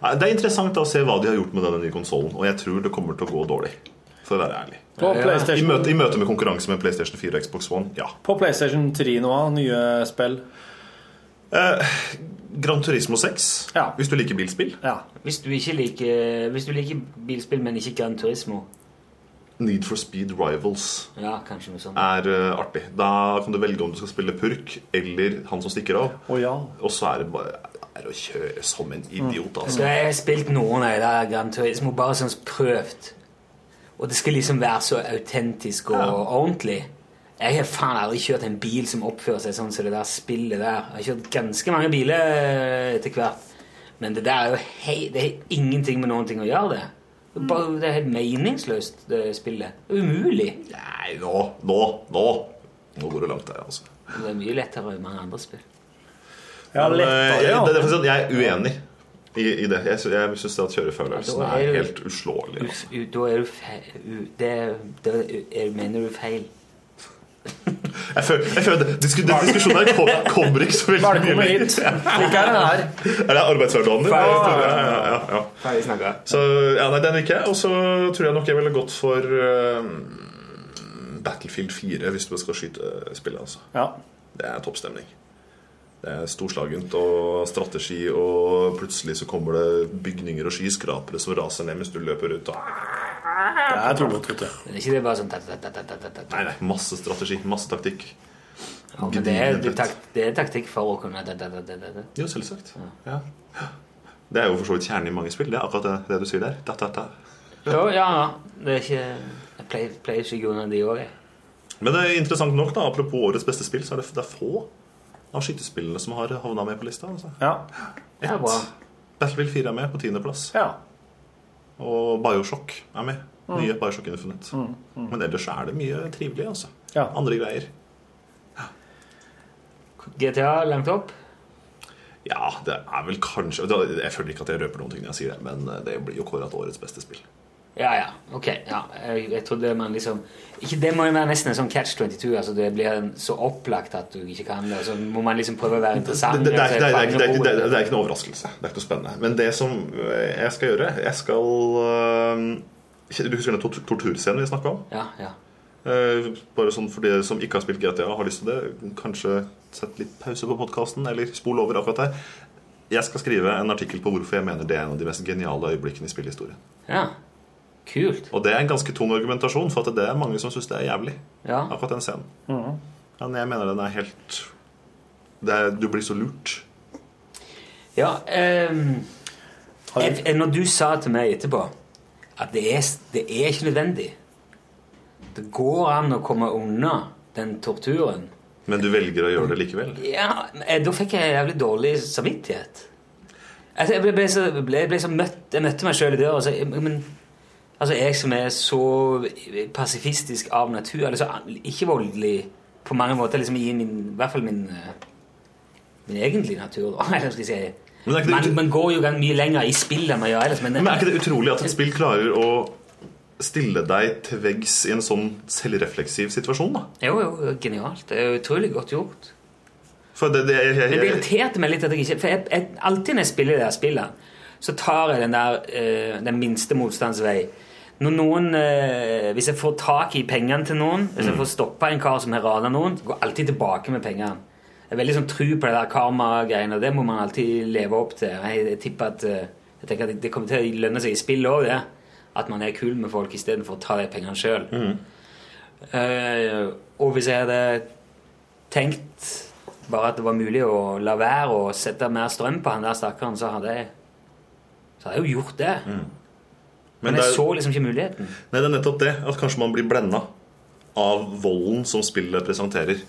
Nei, Det er interessant å se hva de har gjort med denne nye konsollen. Og jeg tror det kommer til å gå dårlig. For å være ærlig. På PlayStation- I, møte, I møte med konkurranse med PlayStation 4 og Xbox One, ja. På PlayStation 3 nå, nye spill. Eh, Gran Turismo 6, hvis du liker bilspill. Hvis du ikke liker, hvis du liker bilspill, men ikke Gran Turismo Need for Speed Rivals Ja, kanskje noe sånt. er eh, artig. Da kan du velge om du skal spille purk eller han som stikker av. Og så er det bare er å kjøre som en Mm. idiot, Så altså. jeg har spilt noen av de der Gran Turismo bare sånn prøvd. Og det skal liksom være så autentisk og ordentlig. Jeg har faen aldri kjørt en bil som oppfører seg sånn som det der spillet der. Jeg har kjørt ganske mange biler eh, etter hvert. Men det der er jo hei, det har ingenting med noen ting å gjøre, det. Det er Bare, det er helt meningsløst, det spillet. Det er Umulig. Nei, nå, nå, nå. Nå går det langt der, altså. Det er mye lettere enn mange andre spill. Men, eh, jeg, det er derfor jeg er sånn, uenig. i, i det. Jeg, sy- jeg syns at kjørefølelsen Ja, da er er du- helt uslåelig. Us- u- Da er du feil det, da er, mener du feil. Jeg føler, jeg føler det- disku- Den diskusjonen her kom- kommer ikke så veldig mye Velkommen lenger. hit. Ikke er den her. Er det arbeidshverdagen din? Ferdig Ja, snakka. ja, ja, ja. Så ja, nei, den liker jeg. Og så tror jeg nok jeg ville gått for eh, Battlefield 4 hvis du skal skyte eh, spillet, altså. Det er toppstemning. Det er storslagent og strategi, og plutselig så kommer det bygninger og skyskrapere som raser ned mens du løper ut. Og... Det er tullete, vet du. Men er ikke det bare sånn ta, ta, ta, ta, ta, ta, ta. Nei, nei, masse strategi, masse taktikk. Ja, men det, er, tak, det er taktikk for å kunne da, da, da, da, da, da. Jo, selvsagt. Ja. Det er jo for så vidt kjernen i mange spill, det er akkurat det, det du sier der. Da, da, da. Jo, ja, ja. Det er ikke Jeg pleier, pleier ikke å gå under de òg, jeg. Men det er interessant nok, da, apropos årets beste spill, så er det, det er få av skytespillene som har havna med på lista. Altså. Det er bra. Battlefield 4 er med på tiendeplass. Og Bioshock er med. Mm. Nye Bioshock Infinite. Mm, mm. Men ellers er det mye trivelig, altså. Ja. Andre greier. GTA langt opp? Ja, det er vel kanskje det- Jeg føler ikke at jeg røper noen ting når jeg sier det, men eh, det blir jo kåra til årets beste spill. Ja, ja. Ok. ja. Jeg, jeg trodde man liksom ikke, Det må jo være nesten en sånn catch 22. altså Det blir en, så opplagt at du ikke kan det. og Så må man liksom prøve å være interessant. Det, det, det, er, og så ikke- det, er, det, er, det, er, det, er, fange det er ikke noe overraskelse. Det er ikke noe spennende. Men det som øh, jeg skal gjøre Jeg skal øh, Du husker den tort- torturscenen vi snakka om? ordet. Ja, ja. Eh, Bare sånn for de som ikke har spilt GTA og har lyst til det, kanskje sett litt pause på podkasten, eller spol over akkurat her. Jeg skal skrive en artikkel på hvorfor jeg mener det er en av de mest geniale øyeblikkene i spillhistorien. Ja, kult. Og det er en ganske tung argumentasjon, for at det er mange som syns det er jævlig. Ja. Mm. Akkurat den scenen. Ja, Men jeg mener den er helt det er, Du blir så lurt. ja ehm, jeg, jeg- når du sa til meg etterpå at det er, det er ikke nødvendig Det går an å komme unna den torturen Men du velger å gjøre det likevel. Ja, men, eh, Da fikk jeg jævlig dårlig samvittighet. Altså, jeg ble, ble, så, ble, jeg ble så møtt Jeg møtte meg sjøl i døra. Altså, jeg- men, altså, jeg som er så pasifistisk av natur, eller så an- ikke voldelig på mange måter, liksom i min, i hvert fall min, eh, min egentlige natur, da. Eller skal jeg si Men er ikke det man, man går jo gan- mye lenger i spillet enn man gjør ellers. Men, Men er ikke det utrolig at et spill klarer å stille deg til veggs i en sånn selvrefleksiv situasjon, da? Jo, jo, genialt. Det er jo utrolig godt gjort. For det, det, jeg, jeg, Men det irriterte meg litt at jeg ikke For jeg, jeg, alltid når jeg spiller det her spillet, så tar jeg den der eh, den minste motstands vei. Når noen, eh, hvis jeg får tak i pengene til noen, hvis jeg Mm. får stoppa en kar som har rana noen, går jeg alltid tilbake med pengene. Jeg er veldig sånn tru på det der karma-greiene, og det må man alltid leve opp til. Jeg, jeg tipper at eh, jeg tenker at det kommer til å lønne seg i spill òg, det. At man er kul med folk istedenfor å ta de pengene sjøl. Eh, og hvis jeg hadde tenkt bare at det var mulig å la være å sette mer strøm på han der stakkaren, så hadde jeg, så hadde jeg jo gjort det. Men, Mm. det jeg er- så liksom ikke muligheten. Nei, det er nettopp det. At kanskje man blir blenda av volden som spillet presenterer.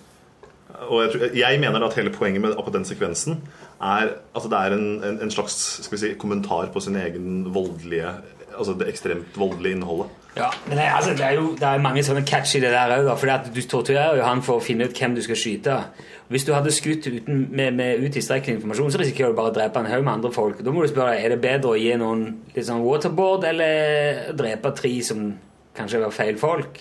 Og jeg, tror- jeg mener at hele poenget med akkurat den sekvensen er at det er en, en, en slags skal vi si, kommentar på sin egen voldelige Altså det ekstremt voldelige innholdet. Ja, men det, altså, det er jo det er mange sånne catch i det der òg, for du torturerer jo han for å finne ut hvem du skal skyte. Hvis du hadde skutt uten, med, med utilstrekkelig informasjon, så risikerer du bare å drepe en haug med andre folk. Da må du spørre deg, er det bedre å gi noen litt sånn waterboard eller drepe tre som kanskje var feil folk.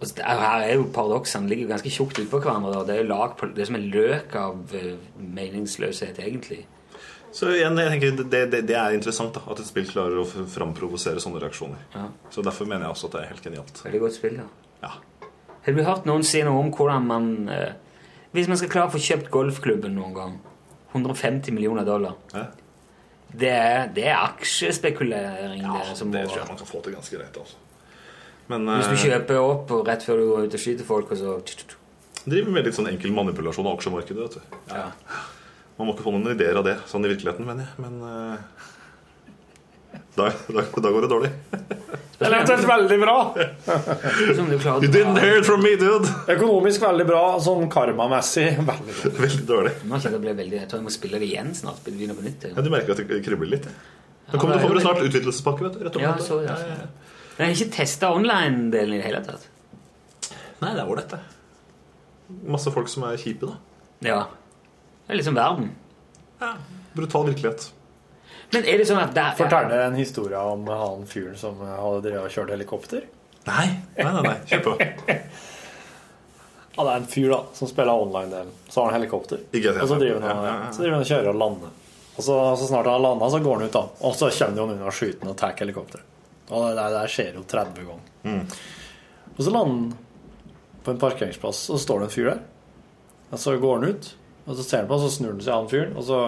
Altså, det er, her er jo paradoksene ligger jo ganske tjukt utpå hverandre. Da. Det er jo lag på, det er som en løk av eh, meningsløshet, egentlig. Så igjen, jeg tenker det, det, det er interessant da, at et spill klarer å f- framprovosere sånne reaksjoner. Så derfor mener jeg også at det er helt genialt. Veldig godt spill, da. Har du hørt noen si noe om hvordan man eh, Hvis man skal klare å få kjøpt golfklubben noen gang 150 millioner dollar. Det, er, det er aksjespekulering. det, som altså, det tror jeg man kan få til ganske greit. altså. Men, Hvis du eh, kjøper opp og rett før du går ut og skyter folk, og så Driver med litt sånn enkel manipulasjon av aksjemarkedet. vet du. Man må ikke få noen ideer av det sånn i virkeligheten, mener jeg. Men eh, da, da, da går det dårlig. Eller eventuelt veldig bra. You didn't hear it from me, dude. Økonomisk veldig bra, sånn karmamessig veldig bra. Veldig dårlig. Nå kjenner jeg ble veldig Jeg tror jeg må spille det igjen snart. Begynne på nytt. Ja, du merker at det kribler litt. Nå Ja, det kommer det, er kommer det jo snart utvidelsespakke. vet du, rett om Ja, dette. så, ja, så. Men jeg har ikke testa online-delen i det hele tatt. Nei, det er ålreit, det. Masse folk som er kjipe, da. Ja. Det er liksom verden. Brutal virkelighet. Men er det sånn at der, Fortell en historie om han fyren som hadde drevet og kjørt helikopter. Nei, nei, nei, nei. kjør på. Han er en fyr da, som spiller online-delen. Så har han helikopter. Og så driver han, så driver han og kjører og lander. Og så, så snart han har landa, så går han ut, da. Og så kommer han unna skyten og tar helikopteret. Og det der, der skjer jo 30 ganger. Og så lander han på en parkeringsplass, og så står det en fyr der. Og så går han ut, og så ser han på, og så snur han seg han fyren, og så,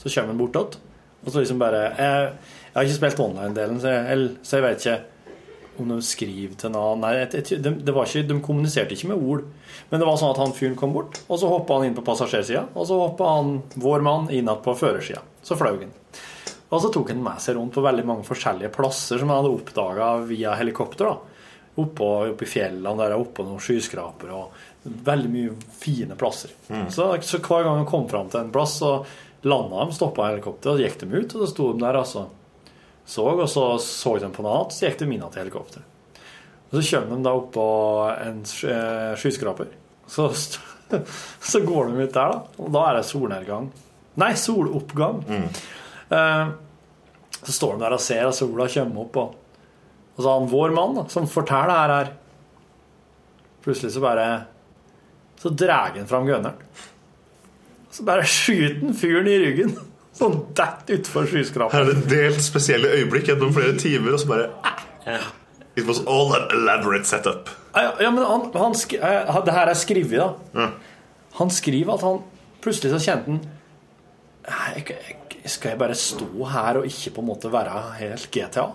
så kommer han bortåt. Og så liksom bare Jeg, jeg har ikke spilt online-delen, så jeg, eller- så jeg vet ikke om de skriver til noen Nei, jeg, jeg, de, det var ikke, de kommuniserte ikke med ord. Men det var sånn at han fyren kom bort, og så hoppa han inn på passasjersida. Og så hoppa han, vår mann, inn igjen på førersida. Så fløy han. Og så tok han med seg rundt på veldig mange forskjellige plasser som han hadde oppdaga via helikopter. da Oppå, oppe i fjellene der, oppå noen skyskrapere og veldig mye fine plasser. Mm. Så, så hver gang han kom fram til en plass, så landa de, stoppa helikopteret, og så gikk de ut, og så sto de der, altså så, og så så de på noe annet, så gikk de inn igjen til helikopteret. Og så kommer de da opp på en sky- eh, skyskraper. Så, st- så går de ut der, da. Og da er det solnedgang. Nei, soloppgang. Eh, så står de der og ser at sola kommer opp, og, og så har han vår mann da, som forteller det her her. Plutselig så bare Så drar han fram gunneren. Så bare skyter han fyren i ryggen. Sånn dett utfor skyskraperen. Her er det delt spesielle øyeblikk gjennom flere timer, og så bare It was all an elaborate setup. Ja, ja, men han, han skri, eh, Det her er skrevet, da. Han skriver at han plutselig så kjente han «Nei, jeg- jeg- Skal jeg bare stå her og ikke på en måte være helt GTA?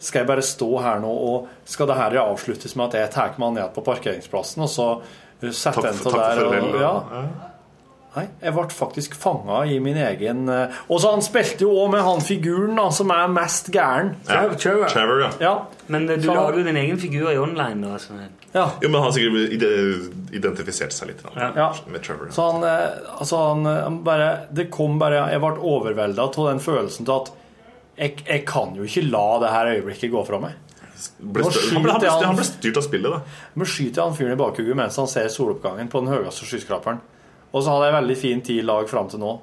Skal jeg bare stå her nå, og skal det her avsluttes med at jeg tar meg ned på parkeringsplassen, og så eh, setter Takk jeg for, til takk for der farvel. og, ja. Nei, jeg ble faktisk fanga i min egen eh, Og så han spilte jo òg med han figuren da, som er mest gæren. Ja, Trevor. Trevor, ja. Men eh, du Så- lager jo din egen figur i online, da. som er- Jo, men han har sikkert ide- identifisert seg litt da, med Trevor. Så han, eh, altså han, eh, han bare, det kom bare Jeg ble overvelda av den følelsen til at jeg, jeg kan jo ikke la det her øyeblikket gå fra meg. Ble Nå stø- han, ble, han, ble, skyter han ble styrt av spillet, da. Nå skyter jeg han fyren i bakhugget mens han ser soloppgangen på den høyeste skyskraperen. Og så hadde jeg veldig fin tid i lag fram til nå.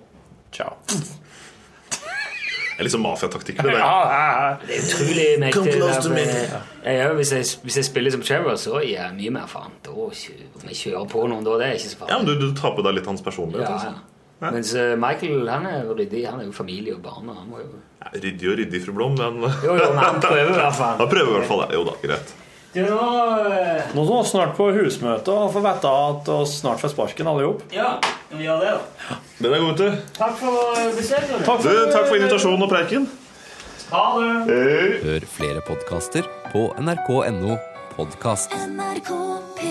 Ciao. Det er liksom mafiataktikk. Ja, Det der. ja, ja. Det er utrolig mektig. Come close det to der, me. for jeg- jeg- hvis, jeg, hvis jeg spiller som Trevor, så gir jeg mye mer faen. Da kjører jeg kjører på noen, da. Det er ikke så farlig. Ja, men du, du tar på deg litt hans personlighet. Ja, altså. ja. Mens eh, Michael han er jo ryddig. Han er jo familie og barn. Og han må jo... Ja, Ryddig og ryddig, fru Blom, men Jo, jo, men han prøver i hvert fall. Han prøver i hvert fall det. Jo da, greit. Du, nå eh, Nå er vi snart på husmøte og får vite at vi snart får sparken, alle sammen. Ja, vi gjør det, da. Den er god, vet du. Takk for besøket. Du, takk for invitasjonen og preiken. Ha det. Hør flere podkaster på nrk.no podkast. NRK P